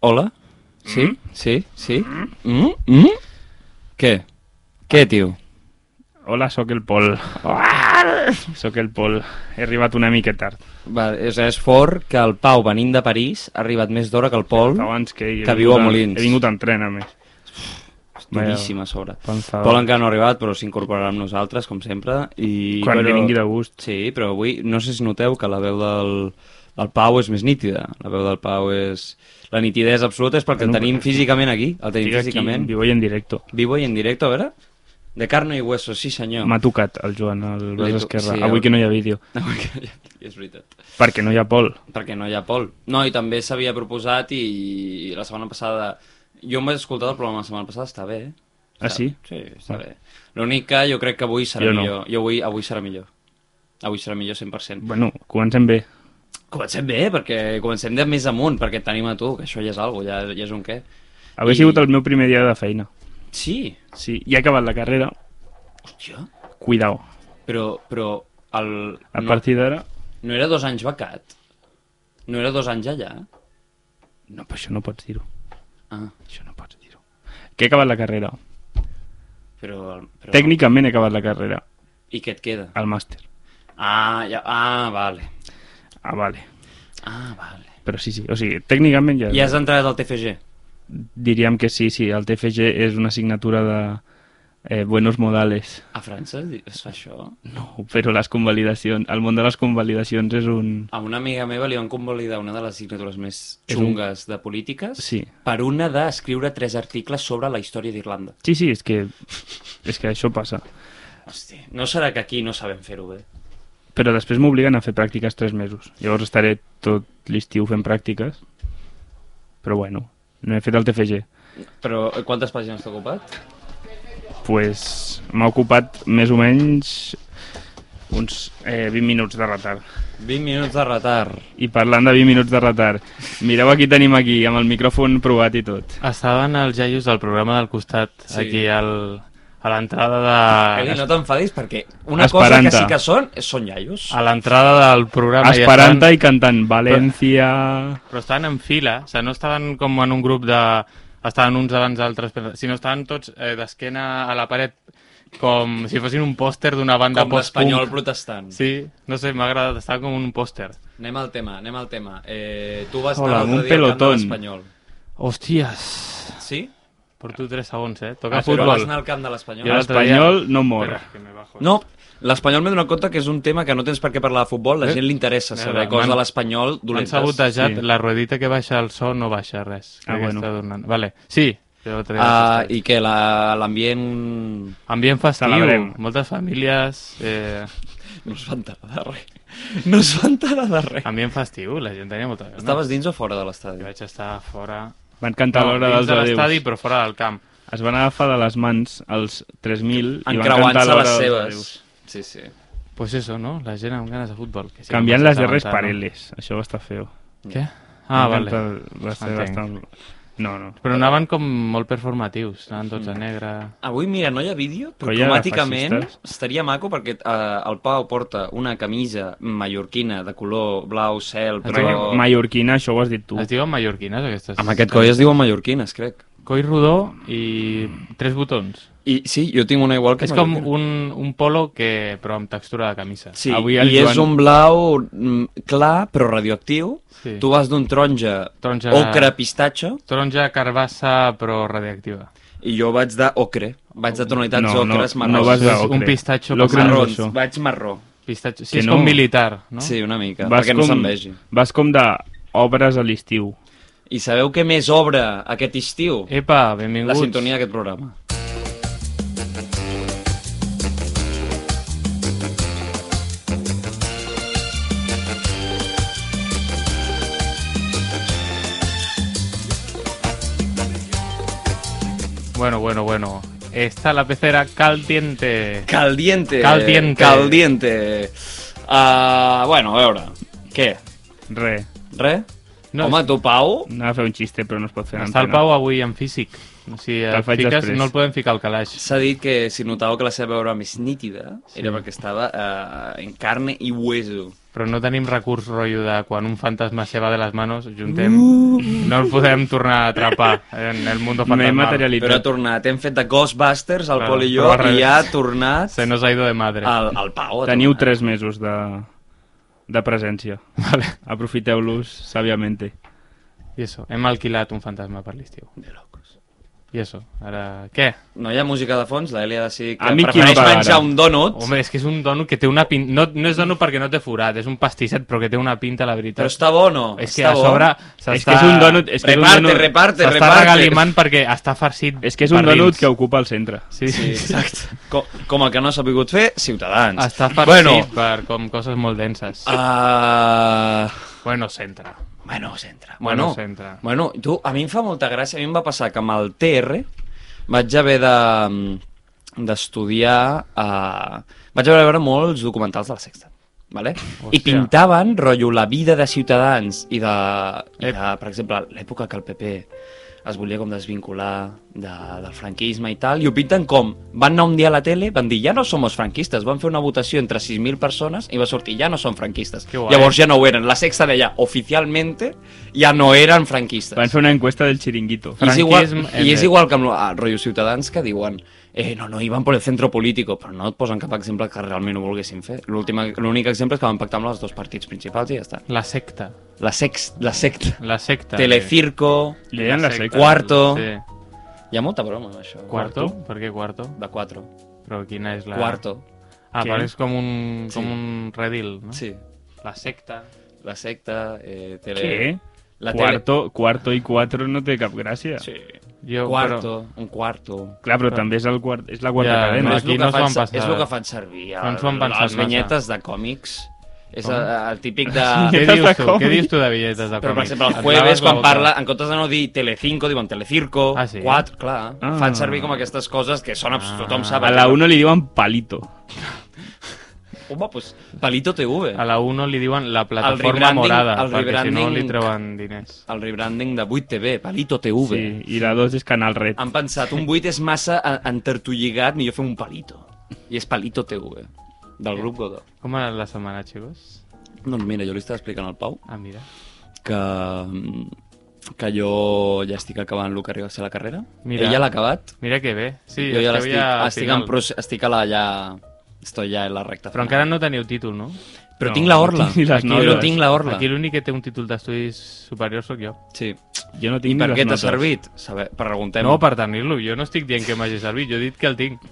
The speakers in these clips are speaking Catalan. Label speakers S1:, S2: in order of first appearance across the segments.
S1: Hola? Sí?
S2: Mm-hmm.
S1: Sí? Sí? Mm? Mm? Què? Què, tio?
S2: Hola, sóc el Pol. Sóc el Pol. He arribat una mica tard.
S1: Va, és, és fort que el Pau, venint de París, ha arribat més d'hora que el Pol.
S2: Abans que ell. he
S1: Que viu a
S2: vingut
S1: Molins.
S2: He vingut en tren, a més.
S1: Duríssim a sobre.
S2: Pensava.
S1: Pol encara no ha arribat, però s'incorporarà amb nosaltres, com sempre. I,
S2: Quan
S1: però...
S2: li vingui de gust.
S1: Sí, però avui no sé si noteu que la veu del, del Pau és més nítida. La veu del Pau és... La nitidesa absoluta és perquè el
S2: No,
S1: tenim físicament aquí. El tenim
S2: Estic aquí,
S1: físicament.
S2: vivo i en directo.
S1: Vivo i en directe, a veure? De carne i hueso, sí senyor.
S2: M'ha tocat el Joan, el braç
S1: Li to-
S2: esquerre.
S1: sí,
S2: Avui
S1: el-
S2: que no hi ha vídeo.
S1: és veritat.
S2: Perquè no hi ha Pol.
S1: perquè no hi ha Pol. No, i també s'havia proposat i, i la setmana passada... Jo em vaig escoltar el programa la setmana passada, està bé. eh? Està-
S2: Ah, sí?
S1: Sí, està
S2: Ah.
S1: bé. L'únic que jo crec que avui serà
S2: Jo no.
S1: millor. Jo avui, avui serà millor. Avui serà millor 100%.
S2: Bueno, comencem bé.
S1: Comencem bé, perquè comencem de més amunt, perquè et tenim a tu, que això ja és algo, ja, ja és un què.
S2: Avui
S1: I-
S2: I... ha sigut el meu primer dia de feina.
S1: Sí,
S2: Sí, i he acabat la carrera.
S1: hòstia,
S2: Cuidao.
S1: però, però el,
S2: A
S1: no,
S2: partir d'ara...
S1: no era dos anys becat? No era dos anys allà?
S2: No, però això no pots dir-ho.
S1: Ah,
S2: Això no pots dir-ho. Que he acabat la carrera.
S1: però... però
S2: Tècnicament he acabat la carrera.
S1: I què et queda?
S2: El màster.
S1: Ah, ja, ah, vale.
S2: Ah, vale.
S1: Ah, vale.
S2: Però sí, sí. O sigui, tècnicament ja...
S1: I has entrat al TFG?
S2: Diríem que sí, sí. El TFG és una assignatura de eh, buenos modales.
S1: A França es di- es fa això?
S2: No, però les convalidacions... El món de les convalidacions és un...
S1: A una amiga meva li van convalidar una de les signatures més
S2: És un-
S1: xungues de polítiques
S2: Sí.
S1: per una d'escriure tres articles sobre la història d'Irlanda.
S2: Sí, sí, és que... És que això passa.
S1: Hòstia, no serà que aquí no sabem fer-ho bé?
S2: Però després m'obliguen a fer pràctiques tres mesos. Llavors estaré tot l'estiu fent pràctiques. Però bueno, no he fet el TFG.
S1: Però eh, quantes pàgines t'ha ocupat?
S2: pues, m'ha ocupat més o menys uns eh, 20 minuts de retard.
S1: 20 minuts de retard.
S2: I parlant de 20 minuts de retard, mireu aquí tenim aquí, amb el micròfon provat i tot.
S3: Estaven els jaios del programa del costat,
S1: Sí.
S3: sí. aquí al, a l'entrada
S1: Ah, Eli, no
S3: de...
S1: t'enfadis perquè una cosa
S2: Esperanta.
S1: que sí que són eh, són iaios.
S3: A l'entrada del programa... i
S2: Esperanta
S3: estaven-
S2: i cantant València...
S3: Però estaven en fila, o sigui, no estaven com en un grup de... Estaven uns abans d'altres, però- sinó estaven tots eh, d'esquena a la paret, com si fossin un pòster d'una banda
S1: Com l'espanyol
S3: post-punk.
S1: protestant.
S3: Sí, no sé, m'ha agradat, estava com un pòster.
S1: Anem al tema, anem al tema. Eh, tu vas
S2: Hola,
S1: anar l'altre dia al camp
S2: un
S1: de
S2: pelotón.
S1: l'Espanyol.
S3: Hòsties!
S1: Sí?
S3: Porto 3 segons, eh? Toca
S1: Ah,
S3: ah,
S1: però vas
S3: futbol.
S1: anar al camp de l'Espanyol.
S3: Jo l'altre
S2: L'espanyol no mor.
S3: Espera, que me bajo.
S1: No, l'espanyol m'he donat compte que és un tema que no tens per què parlar de futbol, la
S3: Eh?
S1: gent li interessa
S3: Eh,
S1: saber
S3: m'han-
S1: coses de l'espanyol
S3: M'han
S1: dolentes.
S3: sabotejat,
S2: Sí.
S3: sí. la ruedita que baixa el so no baixa res.
S2: Ah,
S3: Crec que
S2: bueno.
S3: està donant. Vale, sí. jo l'altre dia vaig
S1: Ah,
S3: estar.
S1: I que la- l'ambient...
S3: Ambient festiu,
S2: Celebrem.
S3: moltes famílies... Eh,
S1: No es va enterar de res. No es va enterar de res.
S3: ambient festiu, la gent tenia molta gana.
S1: Estaves dins o fora de
S3: Jo
S1: l'estadi?
S3: vaig estar fora...
S2: Van cantar a l'hora dels
S3: dins de l'estadi,
S2: adeus.
S3: però fora del camp.
S2: Es van agafar de les mans els 3.000 i van cantar a
S1: Encreuant-se
S2: l'hora
S1: les
S2: dels
S1: seves.
S2: adeus.
S1: Sí, sí.
S3: Pues eso, no? La gent amb ganes de futbol. Que sí,
S2: Canviant
S3: no
S2: les
S3: passa
S2: darreres
S3: tanta,
S2: pareles. Això va estar feo.
S3: No? Què?
S1: Mm.
S3: Ah,
S2: Van
S3: vale.
S2: cantar- Va ser
S3: Entenc.
S2: bastant... No, no.
S3: Però anaven com molt performatius, anaven
S2: Mm.
S3: tots a negre...
S1: Avui, mira, no hi ha vídeo, però
S2: Colla de
S1: cromàticament
S2: feixistes.
S1: estaria maco perquè eh, el Pau porta una camisa mallorquina de color blau cel, però...
S3: diuen
S2: Mallorquina, això ho has dit tu.
S3: Es diuen mallorquines, aquestes?
S1: Amb aquest coll es diuen mallorquines, crec.
S3: Coll rodó i tres botons.
S1: I sí, jo tinc una igual que
S3: És com
S1: mallorquina.
S3: un, un polo que, però amb textura de camisa.
S1: Sí,
S2: Avui el
S1: i és
S2: Joan-
S1: un blau mm, clar, però radioactiu.
S3: Sí.
S1: Tu vas d'un taronja,
S3: Taronja-
S1: ocre pistatxo
S3: Taronja, carbassa, però radiactiva.
S1: i jo vaig de ocre. Vaig de tonalitats
S2: No, no,
S1: ocres
S2: no
S1: marrons.
S2: vas
S3: És
S2: d'ocre.
S3: un pistatxo
S2: L'ocre no és
S1: marrons,
S2: això.
S1: vaig marró.
S3: Pistatxo.
S2: Que
S3: Sí, és
S2: no.
S3: com militar, no?
S1: Sí, una mica,
S2: Vas
S1: perquè
S2: com,
S1: no se'n vegi.
S2: vas com de obres a l'estiu.
S1: I sabeu què més obre aquest estiu?
S3: Epa,
S1: La
S3: benvinguts.
S1: sintonia d'aquest programa.
S3: Bueno, bueno, bueno. Está la pecera caldiente.
S1: Caldiente.
S3: Caldiente.
S1: Caldiente. Uh, bueno, a veure. Què?
S2: Re.
S1: Re?
S3: No,
S1: No, Home, tu, Pau,
S2: Anava a fer un xiste, però no es pot fer. en
S3: Està el
S2: antena.
S3: Pau avui en físic. Si
S2: Te'l
S3: et
S2: faig
S3: fiques,
S2: després.
S3: no el podem ficar al calaix.
S1: S'ha dit que si notava que la seva veu era més nítida sí. era perquè estava eh, en carne i hueso.
S3: però no tenim recurs rotllo de quan un fantasma se va de les manos, juntem,
S2: Uh!
S1: Uh!
S3: no el podem tornar a atrapar en el mundo
S2: M'he
S3: fantasmal.
S2: materialitzat.
S1: Però ha tornat, hem fet de Ghostbusters, el
S3: Clar,
S1: Pol i jo,
S3: però al revés.
S1: i ha tornat
S3: Se nos ha ido de madre.
S2: Ah.
S1: al, al Pau. ha
S2: Teniu
S1: tornat.
S2: tres mesos de, de presència.
S3: Vale.
S2: Aprofiteu-los sàviament.
S3: I eso, hem alquilat un fantasma per l'estiu.
S1: De locos.
S3: I eso, ara... Què?
S1: No hi ha música de fons, l'Eli ha decidit
S2: A
S1: que
S2: mi qui
S1: prefereix
S2: no pagarà?
S1: menjar un donut,
S3: Home, és que és un dono que té una pinta... No, no és dono perquè no té forat, és un pastisset, però que té una pinta, la veritat.
S1: però està bo o no?
S3: és que
S1: està
S3: a sobre... s'està-
S2: És que és un donut... És que és
S1: Reparte,
S2: un donut,
S1: reparte.
S3: S'està regalimant perquè està farcit
S2: És que és un
S3: per
S2: donut
S3: dins.
S2: que ocupa el centre.
S3: Sí,
S1: Sí,
S3: sí,
S1: exacte. Com, com el que no s'ha pogut fer, Ciutadans.
S3: Està farcit
S1: Bueno,
S3: per com coses molt denses.
S2: Ah.
S1: uh...
S3: Bueno, centra.
S1: Bueno, centra.
S3: Bueno,
S1: Bueno,
S3: centra.
S1: Bueno, tu, a mi em fa molta gràcia, a mi em va passar que amb el TR vaig haver de mm, d'estudiar... Eh, vaig haver de veure molts documentals de la Sexta. Vale? I
S3: Hòstia.
S1: pintaven, rotllo, la vida de Ciutadans i de, i
S3: Ep.
S1: de per exemple, l'època que el PP es volia com desvincular de, del franquisme i tal, i ho pinten com van anar un dia a la tele, van dir ja no somos franquistes, van fer una votació entre 6.000 persones i va sortir ja no som franquistes.
S3: Que guai.
S1: Llavors ja no ho eren. La sexta deia, oficialmente, ja no eren franquistes.
S2: Van fer una encuesta del chiringuito.
S1: I és, igual,
S3: franquisme,
S1: I és
S3: eh.
S1: igual que amb el rotllo Ciutadans que diuen eh, no, no, iban por el centro político, però no et posen cap exemple que realment ho volguessin fer. L'últim- L'únic exemple és que van pactar amb els dos partits principals i ja està.
S3: La secta.
S1: La, sex, la secta,
S3: La secta.
S1: Telecirco...
S2: Li deien la secta.
S1: Cuarto.
S3: Sí.
S1: Hi ha molta broma amb això.
S3: Quarto? Per què quarto?
S1: De cuatro.
S3: Però quina és la...
S1: Cuarto.
S3: Ah,
S2: Què?
S3: però és com un, com
S1: Sí.
S3: un redil, no?
S1: Sí.
S3: La secta.
S1: La secta, eh, tele...
S2: Què?
S1: La tele...
S2: Quarto, quarto i quatre no té cap gràcia.
S1: Sí.
S3: Jo,
S1: Quarto, un quarto.
S2: Clar, però també és, el quart, és la quarta
S3: Ja,
S2: cadena.
S3: no,
S1: és
S3: aquí
S1: el que
S3: s'ho
S1: fan
S3: han
S1: se-
S3: passat.
S1: És el que fan servir. El,
S3: No ens ho han pensat
S1: les
S3: massa.
S1: vinyetes de còmics. És el, el típic de...
S3: Però... Què
S2: Vinyetes de
S3: dius, tu?
S2: còmic.
S3: Què dius tu de billetes de còmic?
S1: Però, per exemple, el
S3: Et
S1: jueves,
S3: laves la
S1: quan
S3: boca.
S1: parla, en comptes de no dir Telecinco, diuen Telecirco,
S3: Ah, sí?
S1: 4, clar.
S2: Ah.
S1: Fan servir com aquestes coses que són... abs-
S3: Ah.
S1: Tothom sap...
S2: A la 1 li diuen palito.
S1: Home, pues, Palito TV.
S3: A la 1 li diuen la plataforma
S1: rebranding-
S3: morada,
S1: el
S3: perquè si no
S1: rebranding-
S3: li treuen diners.
S1: El rebranding de 8 TV, Palito TV.
S2: Sí, I la 2 és Canal Red.
S1: Han pensat, un 8 és massa eh, entertolligat, millor fer un Palito. I és Palito TV, del grup Godó.
S3: Com ha anat la setmana, xicos?
S1: Doncs mira, jo li estava explicant al Pau
S3: Ah, mira.
S1: que, mm, que jo ja estic acabant el que arriba a ser la carrera.
S3: Mira.
S1: Ell ja l'ha acabat.
S3: Mira que bé. Sí,
S1: jo ja
S3: esteu
S1: l'estic...
S3: al
S1: estic,
S3: final.
S1: en proce- estic a la ja... Estoy ja en la recta
S3: Però
S1: final.
S3: encara no teniu títol, no?
S1: Però
S2: No,
S1: tinc la
S2: no
S1: orla.
S2: tinc ni les
S1: Aquí, però
S2: notes.
S1: tinc la orla.
S3: Aquí l'únic que té un títol d'estudis superiors sóc jo.
S1: Sí.
S2: Jo no
S1: I
S2: tinc
S1: per
S2: ni les
S1: què t'ha
S2: notes.
S1: servit? Saber, preguntem.
S3: No, per tenir-lo. Jo no estic dient que m'hagi servit, jo he dit que el tinc.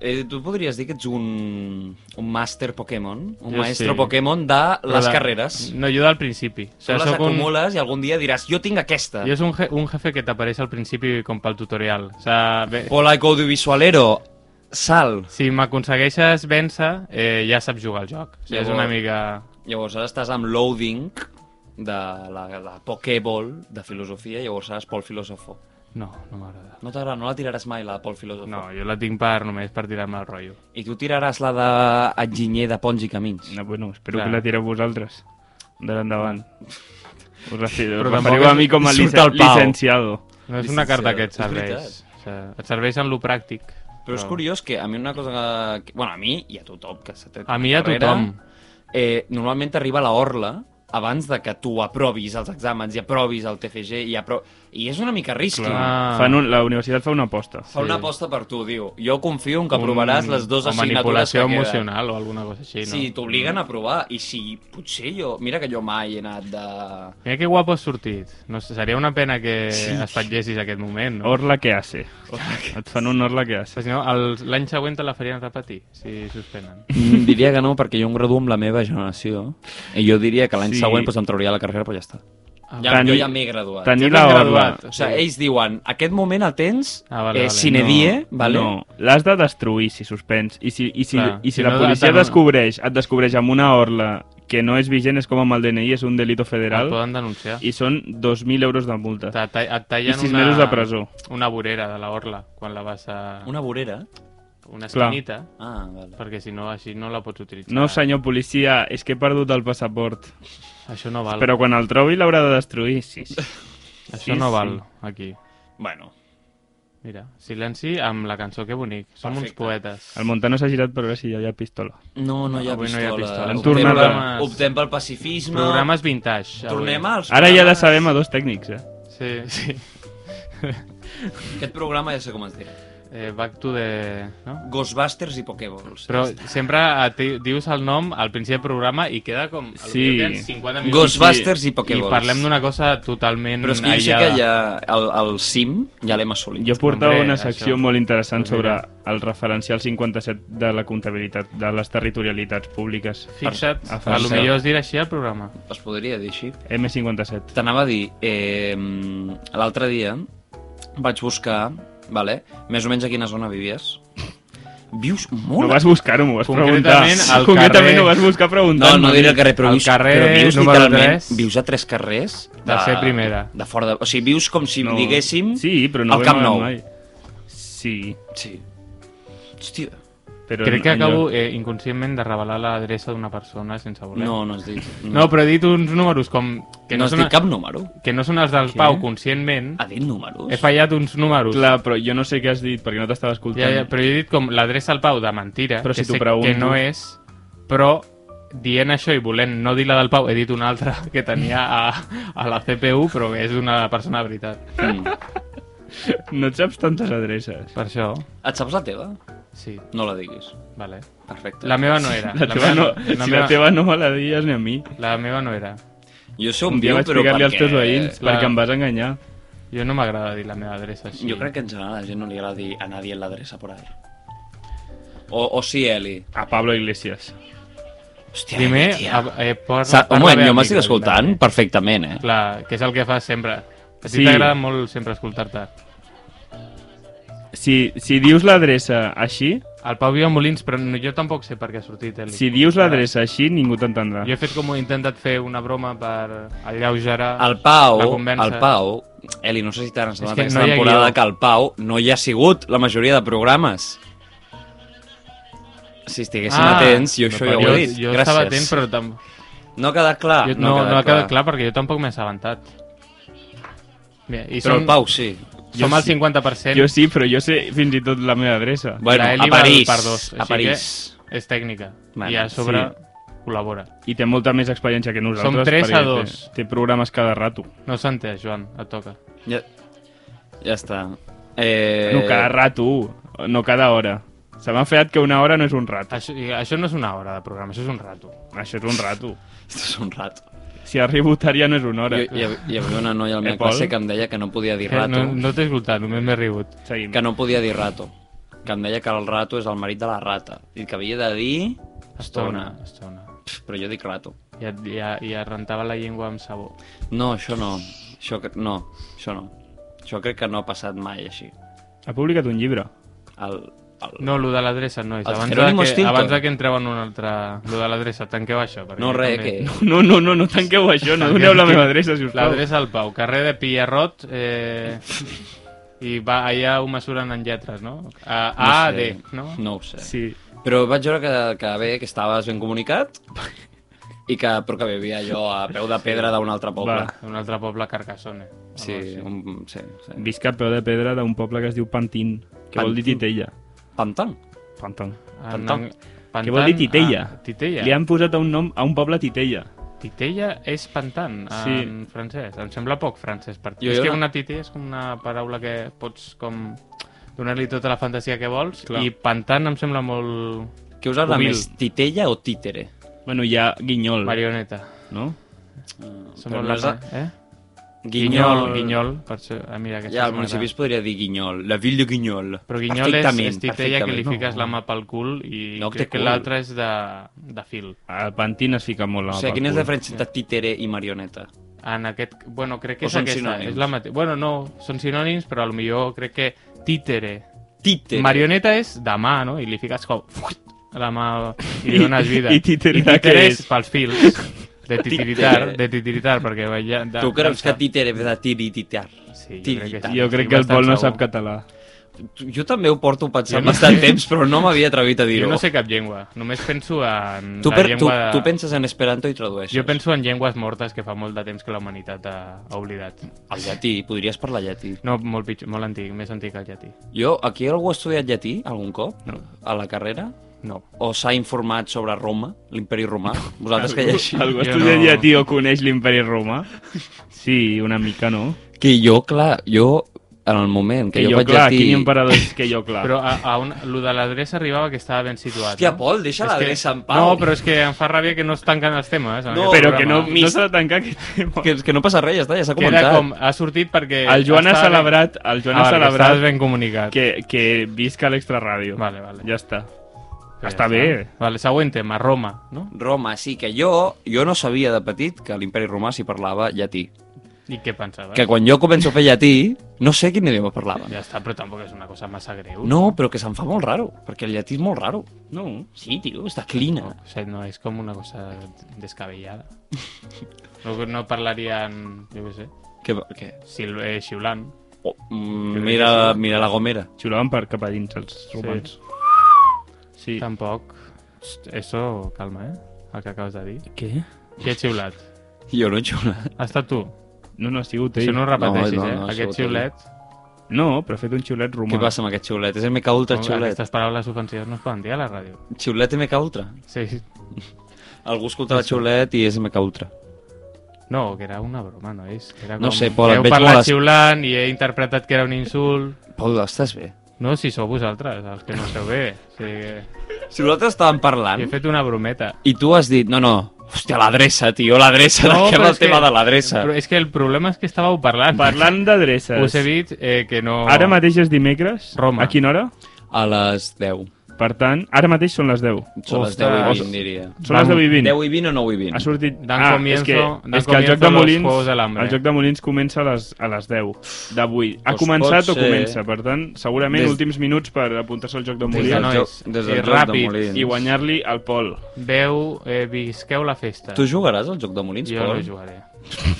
S1: eh, tu podries dir que ets un, un màster Pokémon, un
S3: Jo
S1: maestro
S3: sí.
S1: Pokémon de
S3: Però
S1: les
S3: de-
S1: carreres.
S3: No, jo del principi. O
S1: Tu les
S3: sóc un-
S1: acumules i algun dia diràs, jo tinc aquesta.
S3: Jo és un, je un jefe que t'apareix al principi com pel tutorial. O sea, bé,
S1: Polaico audiovisualero, sal.
S3: si m'aconsegueixes vèncer, eh, ja saps jugar al joc. O sigui, és
S1: Llavors-
S3: una mica...
S1: Llavors ara estàs amb loading de la, la Pokéball de filosofia, llavors seràs Pol Filosofo.
S3: No, no m'agrada.
S1: No t'agrada, no la tiraràs mai, la Pol Filosofo.
S3: No, jo la tinc per només per tirar-me el rotllo.
S1: I tu tiraràs la d'enginyer de Ponts i Camins.
S2: No, bueno, espero
S3: Clar.
S2: que la tireu vosaltres. D'ara endavant. Us la
S3: Però
S2: Però
S3: tampoc
S2: referiu a
S3: és-
S2: mi com a
S1: surt
S2: lic
S1: el Pau.
S2: licenciado.
S3: No és una carta que et
S1: És veritat.
S3: serveix. O sigui, et serveix en lo pràctic.
S1: Però és curiós que a mi una cosa que- que... Bueno, a mi i a tothom que s'ha tret
S3: A mi i a
S1: la carrera,
S3: tothom.
S1: Eh, normalment t'arriba la orla abans de que tu aprovis els exàmens i aprovis el TFG i apro... I és una mica risky.
S3: Clar. Ah.
S2: Fan un, la universitat fa una aposta.
S1: Fa una
S3: sí.
S1: aposta per tu, diu. Jo confio en que aprovaràs les dues
S3: o
S1: assignatures que
S3: manipulació
S1: queden.
S3: emocional o alguna cosa així, no?
S1: Sí, t'obliguen a aprovar. I si potser jo... Mira que jo mai he anat de...
S3: Mira que guapo has sortit. No sé, seria una pena que
S1: Sí.
S3: sí. espatllessis aquest moment, no?
S2: Orla que hace. Et fan un orla que hace.
S3: Però si no, els- l'any següent te la farien repetir, si suspenen.
S1: Mm, diria que no, perquè jo em graduo amb la meva generació. I jo diria que l'any
S2: Sí.
S1: següent pues, em trauria la carrera, però ja està. Ja,
S2: Tenir-
S1: jo ja m'he graduat.
S2: Tenir
S3: Ja
S2: la
S3: t'has
S2: orla.
S3: graduat.
S1: O sigui, ells diuen, aquest moment el tens
S3: Ah, vale,
S1: eh,
S3: vale.
S1: sine
S3: No,
S1: die, vale?
S2: No, l'has de destruir si suspens. I si, i si,
S3: Clar,
S2: i si
S3: si
S2: la
S3: no,
S2: policia
S3: tant-
S2: descobreix, et descobreix amb una orla que no és vigent, és com amb el DNI, és un delito
S3: Et
S2: federal,
S3: poden denunciar. I...
S2: i són 2.000 euros de multa.
S3: Et, Ah, ta- et
S2: I
S3: tallen
S2: sis
S3: una...
S2: mesos de presó.
S3: Una vorera de la orla, quan la vas a... Una,
S1: Una vorera?
S3: una esquinita,
S1: Ah, vale.
S3: perquè si no, així no la pots utilitzar.
S2: No, senyor policia, és que he perdut el passaport.
S3: Això no val.
S2: Però quan el trobi l'haurà de destruir. Sí, sí.
S3: Això
S2: sí,
S3: no
S2: sí.
S3: val, aquí.
S1: Bueno.
S3: Mira, silenci amb la cançó, que bonic. Som uns
S1: Perfecte.
S3: poetes.
S2: El Montano s'ha girat per veure si hi havia pistola.
S1: No, no hi ha
S3: Avui no
S1: pistola.
S3: hi ha pistola.
S2: Han
S1: Optem
S2: tornat
S1: per-
S3: a-
S1: Optem pel pacifisme.
S3: Programes vintage. avui.
S1: Tornem als
S2: Ara ja la
S1: programes-
S2: sabem a dos tècnics, eh?
S3: Sí, sí.
S1: Aquest programa ja sé com es dirà.
S3: Eh, back to the... No?
S1: Ghostbusters i Pokéballs.
S3: Però sempre eh, ti- dius el nom al principi del programa i queda com... el
S2: Sí.
S3: que tens 50 minuts.
S1: Ghostbusters i
S3: I
S1: Pokéballs.
S3: parlem d'una cosa totalment
S1: Però és que jo sé
S3: aïllada.
S1: que ja el, el cim ja l'hem assolit.
S2: Jo portava
S3: Hombre,
S2: una secció
S3: això.
S2: molt interessant
S3: Doncs
S2: sobre
S3: mira.
S2: el referencial 57 de la comptabilitat, de les territorialitats públiques.
S3: Fixa't,
S2: A
S3: a,
S2: França.
S3: lo millor es dirà així el programa.
S1: Es podria dir així.
S2: M57.
S1: T'anava a dir, eh, l'altre dia vaig buscar, vale, més o menys a quina zona vivies. Vius molt...
S2: No vas buscar-ho, m'ho vas preguntar.
S3: Concretament, al
S2: Concretament
S3: carrer-
S2: ho vas buscar
S1: no,
S2: preguntant.
S1: no diré el carrer, però
S3: Al
S1: vius,
S3: carrer
S1: però vius
S3: número
S1: literalment...
S3: tres.
S1: Vius a tres carrers...
S3: De ser primera.
S1: De fora de... O sigui, vius com si
S2: No.
S1: diguéssim...
S2: Sí, però no
S1: al
S2: vam
S1: Camp
S2: anar
S1: Nou.
S2: mai. Sí,
S1: Sí. Hòstia,
S2: però...
S3: Crec que
S2: en- en
S3: acabo
S2: lloc-
S3: eh, inconscientment de revelar l'adreça d'una persona sense voler.
S1: no, no has dit...
S3: no, però he dit uns números com... Que
S1: no
S3: no,
S1: has
S3: són,
S1: dit cap Ah, número.
S3: que no són els del
S2: Què?
S3: Pau, conscientment.
S1: Ha dit números?
S3: He fallat uns números.
S2: Clar, però jo no sé què has dit, perquè no t'estava escoltant.
S3: Ja, ja, però jo he dit com l'adreça al Pau de mentira,
S2: Però
S3: que
S2: si t'ho
S3: sé
S2: pregunto.
S3: que no és, però dient això i volent no dir la del Pau, he dit una altra que tenia a, a la CPU, però que és d'una persona de veritat.
S1: Mm.
S2: No et saps tantes adreces.
S3: Per això,
S1: Et saps la teva?
S3: sí,
S1: No la diguis.
S3: vale.
S1: Perfecte.
S3: La meva no era.
S2: La, teva no, si
S3: la,
S2: la
S3: meva,
S2: teva no me la dies ni a mi.
S3: la meva no era.
S1: Jo sé on
S2: Un dia
S1: viu,
S2: vaig
S1: però
S2: explicar-li
S1: perquè...
S2: als teus veïns,
S3: clar.
S2: perquè em vas enganyar.
S3: Jo no m'agrada dir la meva adreça així.
S1: Jo crec que en general a la gent no li agrada dir a nadie l'adreça por ahí. O, o sí, Eli.
S2: A Pablo Iglesias.
S1: Hòstia,
S3: Primer,
S1: Eli,
S3: a,
S1: tia.
S3: eh, por,
S1: Sa- un moment,
S3: parla
S1: jo
S3: bé,
S1: m'estic
S3: amic,
S1: escoltant perfectament, eh?
S3: Clar, que és el que fas sempre. A ti
S2: Sí.
S3: t'agrada molt sempre escoltar-te.
S2: Si, si dius l'adreça així,
S3: El Pau viu a Molins, però no, jo tampoc sé per què ha sortit. Eli.
S2: si dius
S3: Clar.
S2: l'adreça així, ningú t'entendrà.
S3: Jo he fet com he intentat fer una broma per alleugerar
S1: El Pau,
S3: la conversa.
S1: el Pau, Eli, no sé si t'han
S3: És
S1: ensenyat
S3: que
S1: aquesta
S3: no hi ha
S1: temporada
S3: guió.
S1: que el Pau no hi ha sigut la majoria de programes. Si estiguéssim
S3: Ah,
S1: atents, jo això
S2: no,
S1: ja ho
S3: jo,
S1: he dit.
S3: jo
S1: Gràcies. Ah,
S3: estava atent, però tam...
S1: No ha quedat clar.
S3: jo, no, no ha quedat clar perquè jo tampoc m'he assabentat. Mira, I
S1: Però
S3: som,
S1: el Pau sí.
S3: som
S2: Jo
S3: el
S2: sí.
S3: 50%.
S2: Jo sí, però jo sé fins i tot la meva adreça.
S1: Bueno,
S3: la
S1: a
S3: Eli va
S1: París.
S3: Per dos,
S1: a
S3: així que
S1: París.
S3: És tècnica.
S1: Bueno,
S3: I a sobre col·labora.
S2: I té molta més experiència que nosaltres.
S3: Som tres a
S2: perquè
S3: dos.
S2: Té, té programes cada rato.
S3: No s'ha entès, Joan, et toca.
S1: Ja, ja està. Eh...
S2: No, cada rato, no cada hora. Se m'ha feat que una hora no és un rato.
S3: Això, i això no és una hora de programa, això és un rato.
S2: Això és un rato.
S1: Esto és un rato.
S2: Si arribo tard ja no és una hora.
S1: Jo, hi, havia- hi havia una noia a la
S2: Eh,
S1: meva
S2: Pol?
S1: classe que em deia que no podia dir
S3: Eh,
S1: rato.
S3: no no t'he escoltat, només m'he rigut.
S2: Seguim.
S1: Que no podia dir rato. Que em deia que el rato és el marit de la rata. I que havia de dir...
S3: Estona, estona.
S1: Pff, Però jo dic rato.
S3: I et, i, et- i et rentava la llengua amb sabó.
S1: No, això no. Això, cre- no, això no. Això crec que no ha passat mai així.
S2: Ha publicat un llibre.
S1: El, el...
S3: No, lo de l'adreça no és.
S1: El
S3: Abans de,
S1: Jerónimo
S3: que,
S1: Stilton.
S3: abans de que entreu en un altre... Lo de l'adreça, tanqueu això. perquè
S1: No, res,
S3: també-
S1: que...
S2: No, no, no, no tanqueu això, no doneu la meva adreça, si us plau.
S3: L'adreça del Pau, carrer de Pierrot, eh... i va, allà ho mesuren en lletres, no? A,
S1: No
S3: a
S1: sé.
S3: D, Ah, no?
S1: No ho sé. Sí.
S2: Sí.
S1: Però vaig veure que, que bé, que estaves ben comunicat i que, però que vivia jo a peu de pedra d'un altre poble.
S2: Va.
S3: Un altre poble, Carcassonne.
S1: Sí,
S3: Un...
S1: un, sí, sí.
S2: Visc a peu de pedra d'un poble que es diu Pantin, que vol dir
S1: Pantin.
S2: Titella.
S1: Pantang.
S2: Pantin.
S1: Pantan.
S3: Pantan,
S2: Que vol dir Titella.
S3: Ah, Titella.
S2: Li han posat un nom a un poble Titella.
S3: Titella és pantan en
S2: Sí.
S3: francès. Em sembla poc francès. Per...
S1: Jo-
S3: Jo, és
S1: jo
S3: que
S1: no-
S3: una titella és com una paraula que pots com donar-li tota la fantasia que vols
S2: Clar.
S3: i pantan em sembla molt
S1: Què us agrada
S3: Ovil.
S1: més, titella o títere?
S2: Bueno, hi ha Guinyol,
S3: marioneta.
S2: no?
S3: Sembla
S1: no
S3: no
S1: és
S3: la...
S1: la-
S3: eh?
S1: Guinyol.
S3: Guinyol, per això... Ah, mira, aquesta
S1: Ja, al
S3: és
S1: municipi es
S3: una-
S1: podria dir Guinyol. La ville de Guinyol.
S3: Però Guinyol és, és titella que li
S1: perfectament.
S3: fiques la mà pel cul i
S1: No, que té
S3: crec que
S1: cul.
S3: l'altra és de, de fil.
S2: El Pantin es fica molt
S1: No, o
S2: la mà
S1: sigui,
S2: pel
S1: quina és la
S2: cul.
S1: diferència entre títere i marioneta?
S3: En aquest... Bueno, crec que
S1: O
S3: és
S1: són
S3: aquesta.
S1: sinònims?
S3: És la mate... Bueno, no, són sinònims, però potser crec que títere
S1: Títere.
S3: Marioneta és de mà, no? I li fiques com... a la mà i li
S2: I-
S3: dones vida.
S2: i títere
S3: I títere
S2: què
S3: és
S2: és?
S3: pels fils. De titiritar,
S1: Títere.
S3: de titiritar, perquè veia... De,
S1: Tu creus que
S3: dansa.
S1: títere ve de tirititar?
S3: Sí, jo crec que
S1: tirititar.
S3: sí.
S2: Jo crec que el
S3: Estic
S2: Pol no
S3: bastant
S2: sap
S3: segur.
S2: català.
S1: Jo també ho porto pensant bastant temps, però no m'havia atrevit a
S3: Jo
S1: dir-ho.
S3: no sé cap llengua, només penso en
S1: tu,
S3: la
S1: per, tu,
S3: llengua...
S1: tu penses en Esperanto i tradueixes.
S3: Jo penso en llengües mortes que fa molt de temps que la humanitat ha, ha oblidat.
S1: El llatí, podries parlar llatí.
S3: No, molt pitjor, molt antic, més antic que el llatí.
S1: Jo, aquí algú ha estudiat llatí algun cop?
S3: No.
S1: A la carrera?
S3: No.
S1: O s'ha informat sobre Roma, l'imperi romà? Vosaltres que llegim?
S2: Algú
S3: Jo
S2: estudia
S3: no.
S2: no... llatí o coneix l'imperi romà? Sí, una mica, no?
S1: Que jo, clar, jo, en el moment que,
S2: Que,
S1: jo,
S2: jo,
S1: vaig
S2: clar,
S1: llatí...
S2: aquí n'hi ha paradors que jo, clar.
S3: Però a, a on, lo de l'adreça arribava que estava ben situat.
S1: Hòstia,
S3: no?
S1: Pol, deixa
S3: És
S1: l'adreça
S3: que...
S1: en pau.
S3: No, però és que em fa ràbia que no es tanquen els temes. en
S1: No,
S3: aquest
S2: Però que no,
S3: programa.
S2: no s'ha de tancar aquest tema.
S1: Que, que no passa res, ja està, ja s'ha
S3: Que era
S1: comentat.
S3: com, ha sortit perquè...
S2: El Joan ha
S3: estava ben-
S2: celebrat, el Joan
S3: ah,
S2: ha
S3: perquè
S2: celebrat
S3: Estaves ben comunicat.
S2: que, que visca l'extraràdio.
S3: Vale, vale.
S2: Ja està.
S3: Ja
S2: està bé.
S3: Vale, següent tema, Roma, no?
S1: Roma, sí que jo, jo no sabia de petit que a l'imperi romà s'hi parlava llatí.
S3: I què pensaves?
S1: Que quan jo començo a fer llatí, no sé quin idioma parlaven.
S3: Ja està, però tampoc és una cosa massa greu.
S1: No, però que se'n fa molt raro, perquè el llatí és molt raro.
S2: No.
S1: Sí, tio, està clina.
S3: O sigui, no, és com una cosa descabellada. No, no parlarien, jo què sé,
S1: Que, que,
S3: sil eh, xiulant.
S1: oh, mm,
S3: Crec
S1: mira,
S3: que sí.
S1: mira la gomera.
S2: Xiulaven per cap a dins els romans. Sí.
S3: Sí. Tampoc. Eso, calma, eh? El que acabes de dir.
S2: Què?
S3: Qui ha xiulat?
S1: Jo no he xiulat.
S3: Ha estat tu.
S2: No, no, ha sigut
S3: Si
S2: ell.
S3: no ho
S2: No,
S3: repeteixis,
S1: No, no,
S3: eh?
S1: no, ha sigut
S3: Aquest xiulet...
S2: no, però ha fet un xiulet romà.
S1: Què passa amb aquest xiulet? És MK Ultra
S3: Home,
S1: xiulet.
S3: Aquestes paraules ofensives no es poden dir a la ràdio.
S1: Xiulet MK Ultra.
S3: Sí.
S1: Algú escoltarà xiulet i és MK Ultra.
S3: No, que era una broma, no és? Era
S1: No sé, Pol,
S3: que
S1: et
S3: heu
S1: veig
S3: parlat
S1: molt es-
S3: xiulant i he interpretat que era un insult.
S1: Pol, estàs bé?
S3: No, si sou vosaltres, els que no esteu bé. O sigui, que...
S1: Si nosaltres estàvem
S3: jo he
S1: parlant
S3: fet una brometa.
S1: i tu has dit, no, no, hòstia, l'adreça, tio, l'adreça, no, de què
S3: però
S1: va
S3: és
S1: el tema
S3: que-
S1: de l'adreça?
S3: Però és que el problema és que estàveu parlant.
S2: Parlant d'adreces. Oh.
S3: Us he dit eh, que no...
S2: Ara mateix és dimecres.
S3: Roma.
S2: A quina hora?
S1: A les 10.
S2: Per tant, ara mateix són les 10.
S1: Són les
S3: Ostres.
S1: 10 i 20, diria.
S2: Són les
S3: Vam-
S2: 10 i 20.
S1: 10 i 20 o 9 i
S2: Ha
S1: 20?
S2: sortit...
S3: Dan
S2: ah,
S3: comienzo-
S2: és que,
S3: dan
S2: és que el
S3: comienzo
S2: joc de
S3: los
S2: Molins...
S3: Juegos del Hambre.
S2: El joc de Molins comença a les, a les 10 d'avui. Ha
S1: Doncs
S2: començat
S1: pot
S2: o
S1: ser-
S2: comença, per tant, segurament
S1: Des-
S2: últims minuts per apuntar-se al joc de
S3: Des
S1: Des del
S2: Molins
S3: de
S1: no-
S3: nois,
S1: joc- des del
S3: i
S1: joc de
S3: ràpid,
S1: Molins.
S2: i guanyar-li al Pol.
S3: veu, eh, visqueu la festa.
S1: Tu jugaràs al joc de Molins,
S3: jo no
S1: Pol?
S3: jugaré.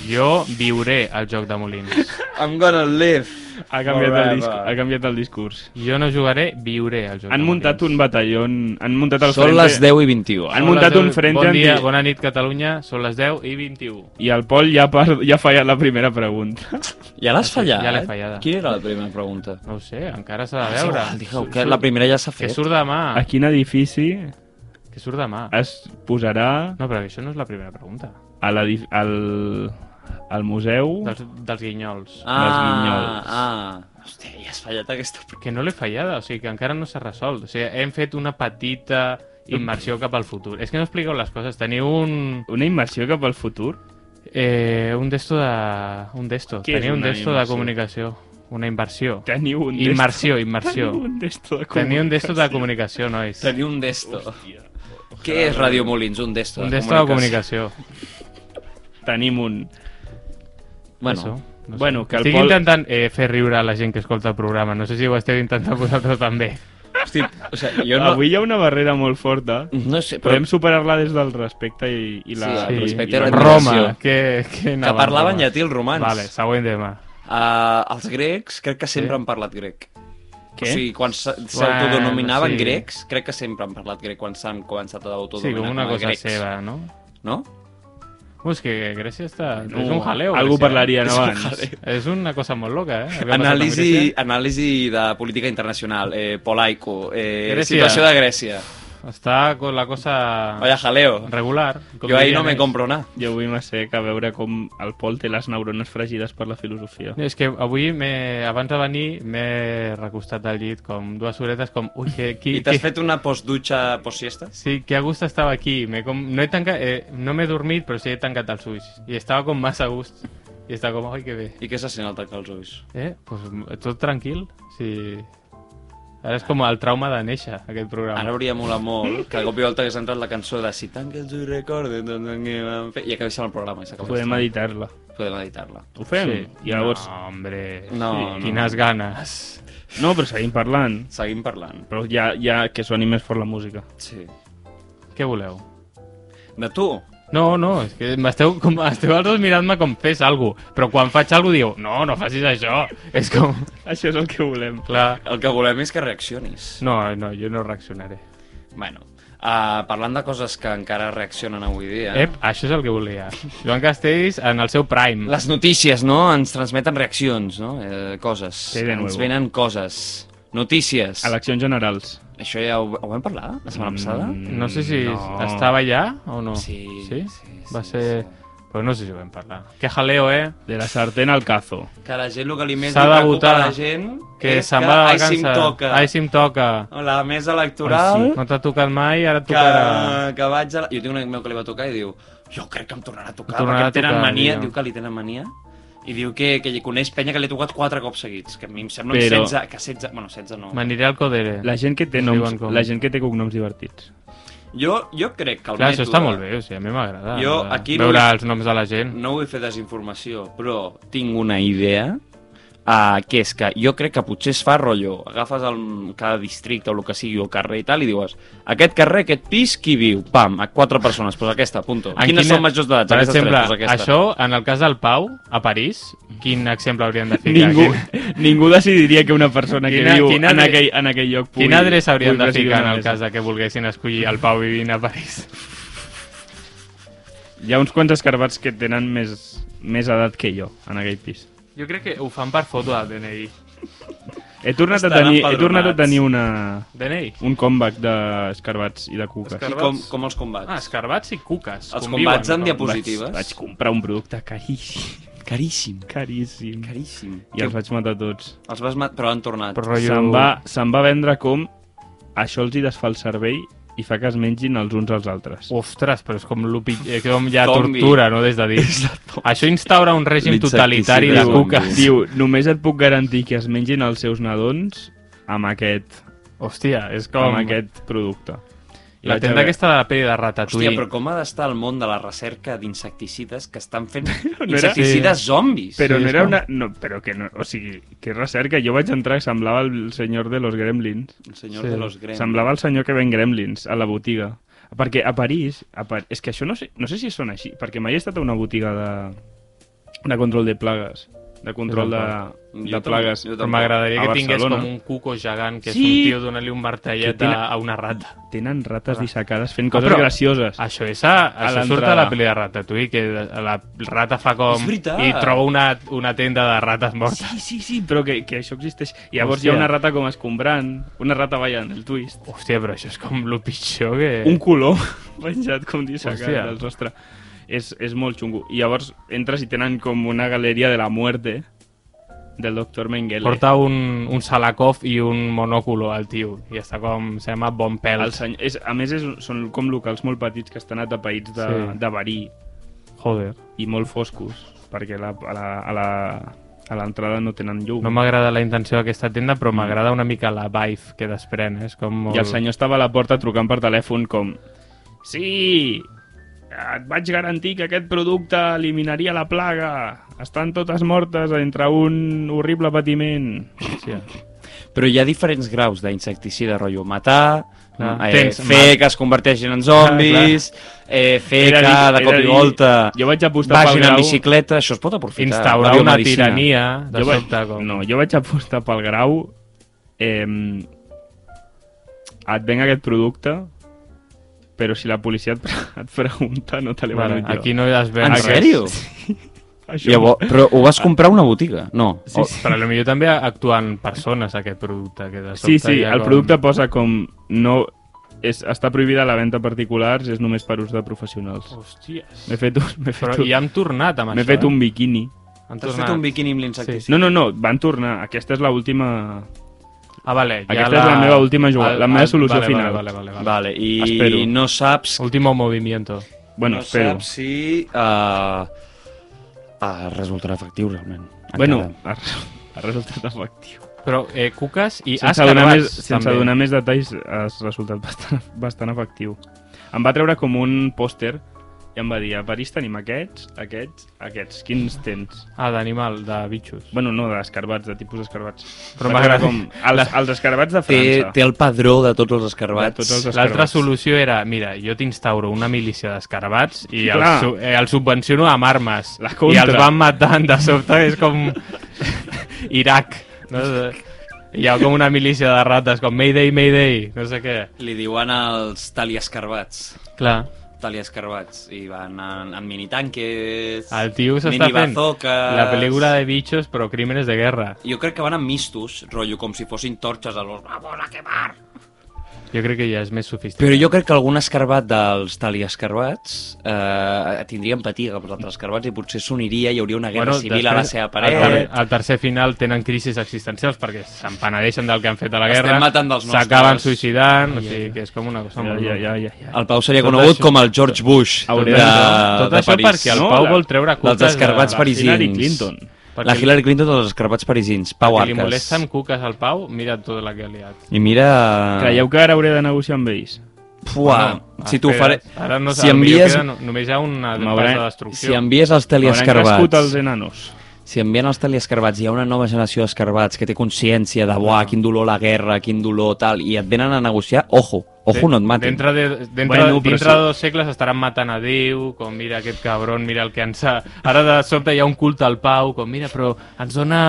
S3: Jo viuré el joc de Molins.
S1: I'm gonna live.
S2: Ha canviat, el, disc,
S1: Forever.
S2: ha canviat el discurs.
S3: Jo no jugaré, viuré el joc
S2: Han
S3: de
S2: muntat un
S3: Molins.
S2: batalló, han muntat el
S1: Són
S2: frente,
S1: les 10 i eh? 21.
S2: han
S3: Són
S2: muntat
S3: les
S2: un
S3: deu-
S2: frente
S3: Bon dia,
S2: anti-
S3: bona nit, Catalunya. Són les 10 i 21.
S2: i el Pol ja, par... ja ha fallat la primera pregunta.
S1: Ja l'has fallat?
S3: ja l'he fallada.
S1: Quina era la primera pregunta?
S3: No ho sé, encara s'ha de
S1: Ah, És
S3: veure.
S1: igual, digueu,
S3: Surt-
S1: que la primera ja s'ha
S3: Que
S1: fet.
S3: surt demà,
S1: Ah.
S2: A quin edifici
S3: que surt demà.
S2: es posarà
S3: No, però això no és la primera pregunta.
S2: a l'edi- al, al museu?
S1: Doncs-
S3: Dels, dels guinyols.
S2: les guinyols.
S1: ah. Hòstia, ja has fallat aquesta... pre-
S3: Que no l'he fallada, o sigui que encara no s'ha resolt. O sigui, hem fet una petita immersió cap al futur. És que no expliqueu les coses. Teniu un...
S2: Una immersió cap al futur?
S3: Eh, un desto de... Un desto.
S2: Què és
S3: Teniu un
S2: una
S3: desto de
S2: immersió?
S3: comunicació. Una inversió.
S2: Teniu un desto-
S3: Immersió, immersió.
S2: Teniu un desto de
S3: Teniu un desto de
S2: comunicació.
S3: comunicació, nois.
S1: Tenir un desto. Què és Radio Molins? Un desto.
S3: Un desto de comunicació.
S2: Tenim un...
S1: Bueno,
S3: Eso. No sé.
S2: Bueno, que el
S3: Estic
S2: Pol-
S3: intentant eh, fer riure a la gent que escolta el programa. No sé si ho esteu intentant vosaltres també.
S1: hosti, o sigui, jo no...
S2: Avui hi ha una barrera molt forta.
S1: No sé, però
S2: Podem superar-la des del respecte i, i la...
S1: Sí,
S2: i-
S1: respecte
S2: i
S1: a la
S3: Roma, que, que,
S1: que parlaven llatí els romans.
S3: Vale, següent tema.
S1: Uh, els grecs crec que sempre
S3: Sí.
S1: han parlat grec. O
S2: Què?
S1: sigui, quan s- s'autodenominaven
S3: sí.
S1: grecs, crec que sempre han parlat grec quan s'han començat a
S3: Sí,
S1: autodenominar
S3: com una
S1: a
S3: cosa
S1: grecs.
S3: seva, no?
S1: No?
S3: Ui, és que Grècia està...
S2: No,
S3: és un jaleo.
S2: Algú
S3: Grècia.
S2: parlaria
S1: És un
S2: abans.
S1: jaleo.
S3: És una cosa molt loca, eh? Haver passat amb
S1: Anàlisi,
S3: Grècia.
S1: anàlisi de política internacional, eh, polaico, eh,
S3: Grècia.
S1: situació de Grècia.
S3: Està con la cosa
S1: Vaya jaleo.
S3: regular. com eh?
S1: Jo ahir
S3: dirien
S1: no me
S3: ells.
S1: compro nada.
S2: Jo avui m'ha sec a veure com el Pol té les neurones fregides per la filosofia.
S3: És que avui, m'he- abans de venir, m'he recostat al llit com dues horetes, com... Ui, que, qui,
S1: I t'has
S3: qui-
S1: fet una postdutxa postsiesta?
S3: Sí, que a gust estava aquí. Me com... No he tancat, eh, no m'he dormit, però sí he tancat els ulls. I estava com massa a gust. I estava com, ai, que bé.
S1: I què s'ha sent al tancar els ulls?
S3: Eh? Pues, tot tranquil. Sí. Ara és com el trauma de néixer, aquest programa.
S1: Ara hauria molat molt que de cop i volta hagués entrat la cançó de Si tanques els ulls recorden tot el que vam fer i acabéssim el programa i s'acabés.
S2: Podem editar-la.
S1: Podem editar-la.
S2: Ho fem? I llavors...
S3: No, hombre.
S1: No, no.
S3: Quines ganes.
S2: No, però seguim parlant.
S1: Seguim parlant.
S2: Però ja, ja que soni més fort la música.
S1: Sí.
S3: Què voleu?
S1: De tu?
S3: No, no, és que m'esteu com, esteu els dos mirant-me com fes alguna cosa, però quan faig alguna cosa dieu, no, no facis això, és com...
S2: Això és el que volem.
S3: Clar,
S1: El que volem és que reaccionis.
S3: no, no, jo no reaccionaré.
S1: Bueno, uh, parlant de coses que encara reaccionen avui dia...
S3: Ep, això és el que volia. Joan Castells en el seu prime.
S1: Les notícies, no? Ens transmeten reaccions, no? Eh, coses.
S2: de
S1: Ens
S2: nuevo.
S1: venen coses. Notícies.
S2: Eleccions generals.
S1: Això ja ho, ho vam parlar la
S3: Mm.
S1: setmana passada?
S3: No sé si
S2: No.
S3: estava allà o no.
S1: Sí,
S3: sí,
S1: sí,
S3: Va
S1: sí,
S3: ser... Però no sé si ho vam parlar. Que jaleo, eh?
S2: De la sartén al cazo.
S1: Que la gent el que li més
S3: S'ha
S1: li
S3: de
S1: preocupa a la
S3: votar.
S1: gent
S3: Que
S1: és
S3: se'n
S1: que
S3: va de
S1: ai, si em
S3: vacances.
S1: toca.
S3: Ai, si em toca.
S1: La mesa electoral
S3: No t'ha tocat mai, ara et
S1: que,
S3: tocarà.
S1: que vaig a la... Jo tinc un amic meu que li va tocar i diu jo crec que em tornarà a tocar
S3: Em tornarà
S1: perquè em tenen
S3: a tocar,
S1: mania,
S3: diu.
S1: diu que li tenen mania i diu que, que hi coneix penya que li ha tocat quatre cops seguits, que a mi em sembla que
S2: Però-
S1: 16, que 16, bueno 16 no.
S3: M'aniré al Codere.
S2: La gent que té
S3: Ho
S2: noms,
S3: diuen com.
S2: la gent que té cognoms divertits.
S1: Jo, jo crec que el
S3: Clar, això
S1: mètode...
S3: està molt bé, o sigui, a mi m'agrada.
S1: eh. Jo
S3: m'agrada
S1: aquí no
S3: Veure
S1: vull-
S3: els noms de la gent.
S1: Mm. No vull fer desinformació, però tinc una idea uh, que és que jo crec que potser es fa rotllo, agafes el, cada districte o el que sigui, o el carrer i tal, i dius aquest carrer, aquest pis, qui viu? Pam, a quatre persones, doncs aquesta, punto.
S3: En
S1: Quines són majors d'edat?
S3: Per
S1: Aquestes
S3: exemple,
S1: tres, doncs aquesta.
S3: això, en el cas del Pau, a París, quin exemple hauríem de ficar?
S2: Ningú,
S3: Quin-
S2: ningú decidiria que una persona que
S3: Quina-
S2: viu
S3: quina
S2: en,
S3: adre-
S2: aquell, en aquell lloc pugui...
S3: Quina adreça hauríem
S2: pugui
S3: de
S2: presidir
S3: ficar
S2: una
S3: en el
S2: mesa.
S3: cas de que volguessin escollir el Pau vivint a París?
S2: Hi ha uns quants escarbats que tenen més, més edat que jo en aquell pis.
S3: Jo crec que ho fan per foto del DNI.
S2: He tornat, a
S1: Estan
S2: tenir, he
S1: empadronats.
S2: tornat a tenir una,
S3: DNI?
S2: un comeback d'escarbats i de cuques.
S3: Escar-
S1: I com, com els combats?
S3: Ah, escarbats i cuques.
S1: Els
S3: conviuen,
S1: combats en
S3: no?
S1: diapositiva.
S2: Vaig,
S1: positives.
S2: vaig comprar un producte caríssim,
S1: Caríssim.
S2: caríssim,
S1: Caríssim.
S2: i els vaig matar tots.
S1: Els vas mat... Però han tornat.
S3: Però rotllo...
S2: Se'n va, se'n va vendre com això els hi desfà el cervell i fa que es mengin els uns als altres.
S3: Ostres, però és com, lo pit- eh, com ja
S1: Zombi.
S3: tortura, no? Des de dins. Això instaura un règim totalitari de
S1: L'insecticida zombi.
S3: cuques.
S2: Diu, només et puc garantir que es mengin els seus nadons amb aquest,
S3: Hòstia, és com...
S2: amb aquest producte. I
S3: La
S2: vaig
S3: tenda
S2: haver-
S3: aquesta de la pell de Ratatouille.
S1: Hòstia, però com ha d'estar el món de la recerca d'insecticides que estan fent
S2: era-
S1: insecticides zombis?
S2: Però
S3: Sí,
S2: no
S3: és
S2: era
S3: com-
S2: una... No, però que no... O sigui, que recerca. Jo vaig entrar i semblava el senyor de los gremlins.
S1: El senyor
S3: Sí.
S1: de los gremlins.
S2: Semblava el senyor que ven gremlins a la botiga. Perquè a París... A Par... És que això no sé, no sé si són així, perquè mai he estat a una botiga de, de control de plagues. De control de,
S1: Jo
S2: de
S1: tampoc,
S2: plagues.
S1: jo
S3: Però
S1: tampoc.
S3: m'agradaria
S2: A
S3: que tingués
S2: Barcelona.
S3: com un cuco gegant, que
S2: Sí.
S3: és un tio donant-li un martellet
S2: Que tenen-
S3: a, a una rata.
S2: Tenen rates
S3: Ah.
S2: dissecades fent coses
S3: però- Ah,
S2: gracioses.
S3: Això és a,
S2: A
S3: això surt
S2: l'entrada.
S3: a la pel·li de Ratatouille, que la rata fa com...
S1: És veritat.
S3: I troba una, una tenda de rates mortes.
S2: Sí, sí, sí, però que, que això existeix. I llavors
S3: Hòstia.
S2: hi ha una rata com escombrant, una rata ballant, el twist.
S3: Hòstia, però això és com lo pitjor que...
S2: un color penjat com dissecat
S3: Hòstia.
S2: del sostre. És, és molt xungo. I llavors entres i tenen com una galeria de la muerte del doctor Mengele.
S3: Porta un, un salakov i un monòculo al tio. I està com... Se llama Bon Pèl.
S2: el senyor, és, a més, és, són com locals molt petits que estan atapeïts de,
S3: Sí.
S2: sí. de verí
S3: Joder.
S2: i molt foscos, perquè la, a la, a la, a l'entrada no tenen llum.
S3: No m'agrada la intenció d'aquesta tenda, però m'agrada una mica la vibe que desprèn. eh? És com molt...
S2: I el senyor estava a la porta trucant per telèfon com... Sí, et vaig garantir que aquest producte eliminaria la plaga. Estan totes mortes entre un horrible patiment.
S3: Hòstia.
S1: Però hi ha diferents graus d'insecticida, rotllo matar,
S3: Clar.
S2: Mm.
S1: eh,
S3: Tens
S1: fer que es converteixin en zombis, eh, fer
S2: Ah, Era
S1: que
S2: dir-
S1: de cop
S2: era
S1: i
S2: dir-
S1: volta
S2: jo vaig apostar
S1: vagin
S2: pel
S1: en
S2: grau-
S1: bicicleta, això es pot aprofitar.
S3: instaurar
S1: La
S3: una
S1: biomedicina.
S3: tirania de
S2: jo vaig,
S3: sobte. Com...
S2: No, jo vaig apostar pel grau eh, et venc aquest producte però si la policia et, pre- et pregunta no te l'he
S3: vale,
S2: venut jo.
S3: aquí no es ven
S1: En
S3: res.
S1: sèrio?
S2: Això,
S1: Llavors, però ho
S2: Ah.
S1: vas comprar a una botiga? No. Oh.
S3: Sí, sí. Però potser també actuen persones aquest producte. Que de
S2: sí,
S3: sobte
S2: sí,
S3: hi ha
S2: el
S3: com-
S2: producte posa com no, és, està prohibida la venda a particulars, és només per ús de professionals.
S3: Hòsties.
S2: M'he fet, un- m'he
S3: Però
S2: fet, un-
S3: ja hem tornat amb
S2: m'he
S3: això.
S2: fet
S3: eh?
S2: un biquini.
S3: Han
S1: T'has
S3: tornat.
S1: fet un biquini amb l'insecticida.
S2: No, no, no, van tornar. Aquesta és l'última
S3: Ah, vale.
S2: Aquesta és la meva última jugada, la meva solució
S3: vale,
S2: final.
S3: Vale, vale, vale, vale.
S1: Vale, i
S2: Espero.
S1: no saps...
S3: Último movimiento.
S2: Bueno,
S1: no
S2: espero.
S1: saps si... Uh, uh, resultarà efectiu, realment. Encara.
S2: Bueno, ha, res- ha resultat efectiu.
S3: Però eh, cuques i
S2: Sense donar,
S3: escarabats,
S2: més, sense
S3: també.
S2: donar més detalls, ha resultat bastant, bastant efectiu. Em va treure com un pòster i em va dir, a París tenim aquests, aquests, aquests. Quins tens?
S3: Ah, d'animal, de bitxos.
S2: Bueno, no, d'escarbats, de tipus escarbats.
S3: Però
S2: Perquè
S3: m'agrada-
S2: com Els, els escarbats de
S1: Té,
S2: França.
S1: té el padró de tots els escarbats.
S2: De tots els
S3: L'altra
S2: escarbats.
S3: solució era, mira, jo t'instauro una milícia d'escarbats i el,
S2: Clar.
S3: su eh, el subvenciono amb armes.
S2: La
S3: I
S2: contra.
S3: els van matant de sobte, és com Iraq. No? De- Hi ha com una milícia de rates, com Mayday, Mayday, no sé què.
S1: Li diuen els taliescarbats.
S3: Clar.
S1: Taliescarbats. I van en, en minitanques...
S3: El tio s'està fent
S1: minibazoques.
S3: la pel·lícula de bitxos però crímenes de guerra.
S1: Jo crec que van amb mistos, rotllo, com si fossin torxes a los... Vamos a quemar!
S3: Jo crec que ja és més sofisticat.
S1: Però jo crec que algun escarbat dels taliescarbats eh, tindrien patiga pels altres escarbats i potser s'uniria i hi hauria una guerra civil a la
S3: després,
S1: seva eh?
S3: Al,
S1: paret.
S3: ter al tercer final tenen crisis existencials perquè se'n penedeixen del que han fet a la
S1: Estem
S3: guerra.
S1: matant dels nostres.
S3: S'acaben suïcidant, o sigui que és com una cosa
S2: Ja,
S3: molt...
S2: ja, ja, ja, ja.
S1: El Pau seria
S3: Tot
S1: conegut
S3: això-
S1: com el George Bush
S2: Tot
S1: de,
S2: això-
S3: tot
S1: de
S3: això
S1: París.
S3: perquè el
S2: No,
S3: Pau
S2: la-
S3: vol treure
S1: dels
S3: cuques
S1: escarbats
S3: de,
S1: per- parisins.
S2: Hillary Clinton.
S1: La Hillary Clinton dels escarbats parisins, Pau
S3: que li
S1: Arcas.
S3: molesten cuques al Pau, mira tota la que ha liat.
S1: I mira...
S3: Ah.
S2: Creieu que ara hauré de negociar amb ells?
S1: Fua,
S3: Bueno,
S1: si t'ho faré...
S3: espera't, Ara no
S1: si envies...
S3: Queda, no, només hi ha una
S2: M'haurà-
S3: pas de
S1: Si
S3: destrucció.
S1: envies els
S2: Hauran crescut els
S1: taliescarbats,
S2: enanos.
S1: si envien els taliescarbats, hi ha una nova generació d'escarbats que té consciència de, buah, quin dolor la guerra, quin dolor tal, i et venen a negociar, ojo, ojo, no et matin.
S3: Dintre de, dintre,
S2: Bueno,
S3: bueno,
S2: però
S3: dintre
S2: sí.
S3: de dos segles estaran matant a Déu, com mira aquest cabron, mira el que ens ha... Ara de sobte hi ha un culte al Pau, com mira, però ens dona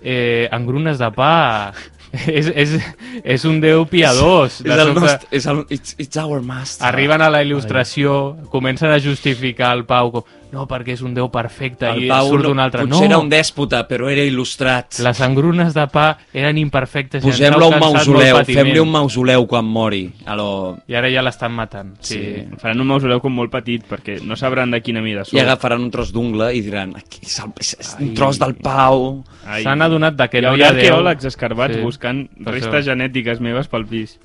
S3: eh, engrunes de pa. és, és, és un Déu piadós. De
S1: És
S3: tota-
S1: el
S3: sobte
S1: nostre... És el, it's, it's our master.
S3: Arriben a la il·lustració, comencen a justificar el Pau com, no, perquè és un Déu perfecte
S1: El
S3: i
S1: Pau
S3: surt
S1: no-
S3: un altre. No,
S1: Potser era un dèspota, però era il·lustrat.
S3: les engrunes de pa eren imperfectes. i ens heu
S1: Posem-lo a un
S3: causat molt
S1: mausoleu,
S3: patiment.
S1: fem-li un mausoleu quan mori. Alò...
S3: I ara ja l'estan matant. Sí.
S1: Sí.
S2: Faran un mausoleu com molt petit, perquè no sabran de quina mida
S1: I
S2: són.
S1: agafaran un tros d'ungla i diran "Aquí és, el, és, és un tros del Pau.
S2: Ai.
S3: S'han adonat de que
S2: hi
S3: no hi
S2: haurà
S3: ha Déu.
S2: arqueòlegs escarbats
S3: Sí.
S2: buscant
S3: Per
S2: restes
S3: això.
S2: genètiques meves pel pis.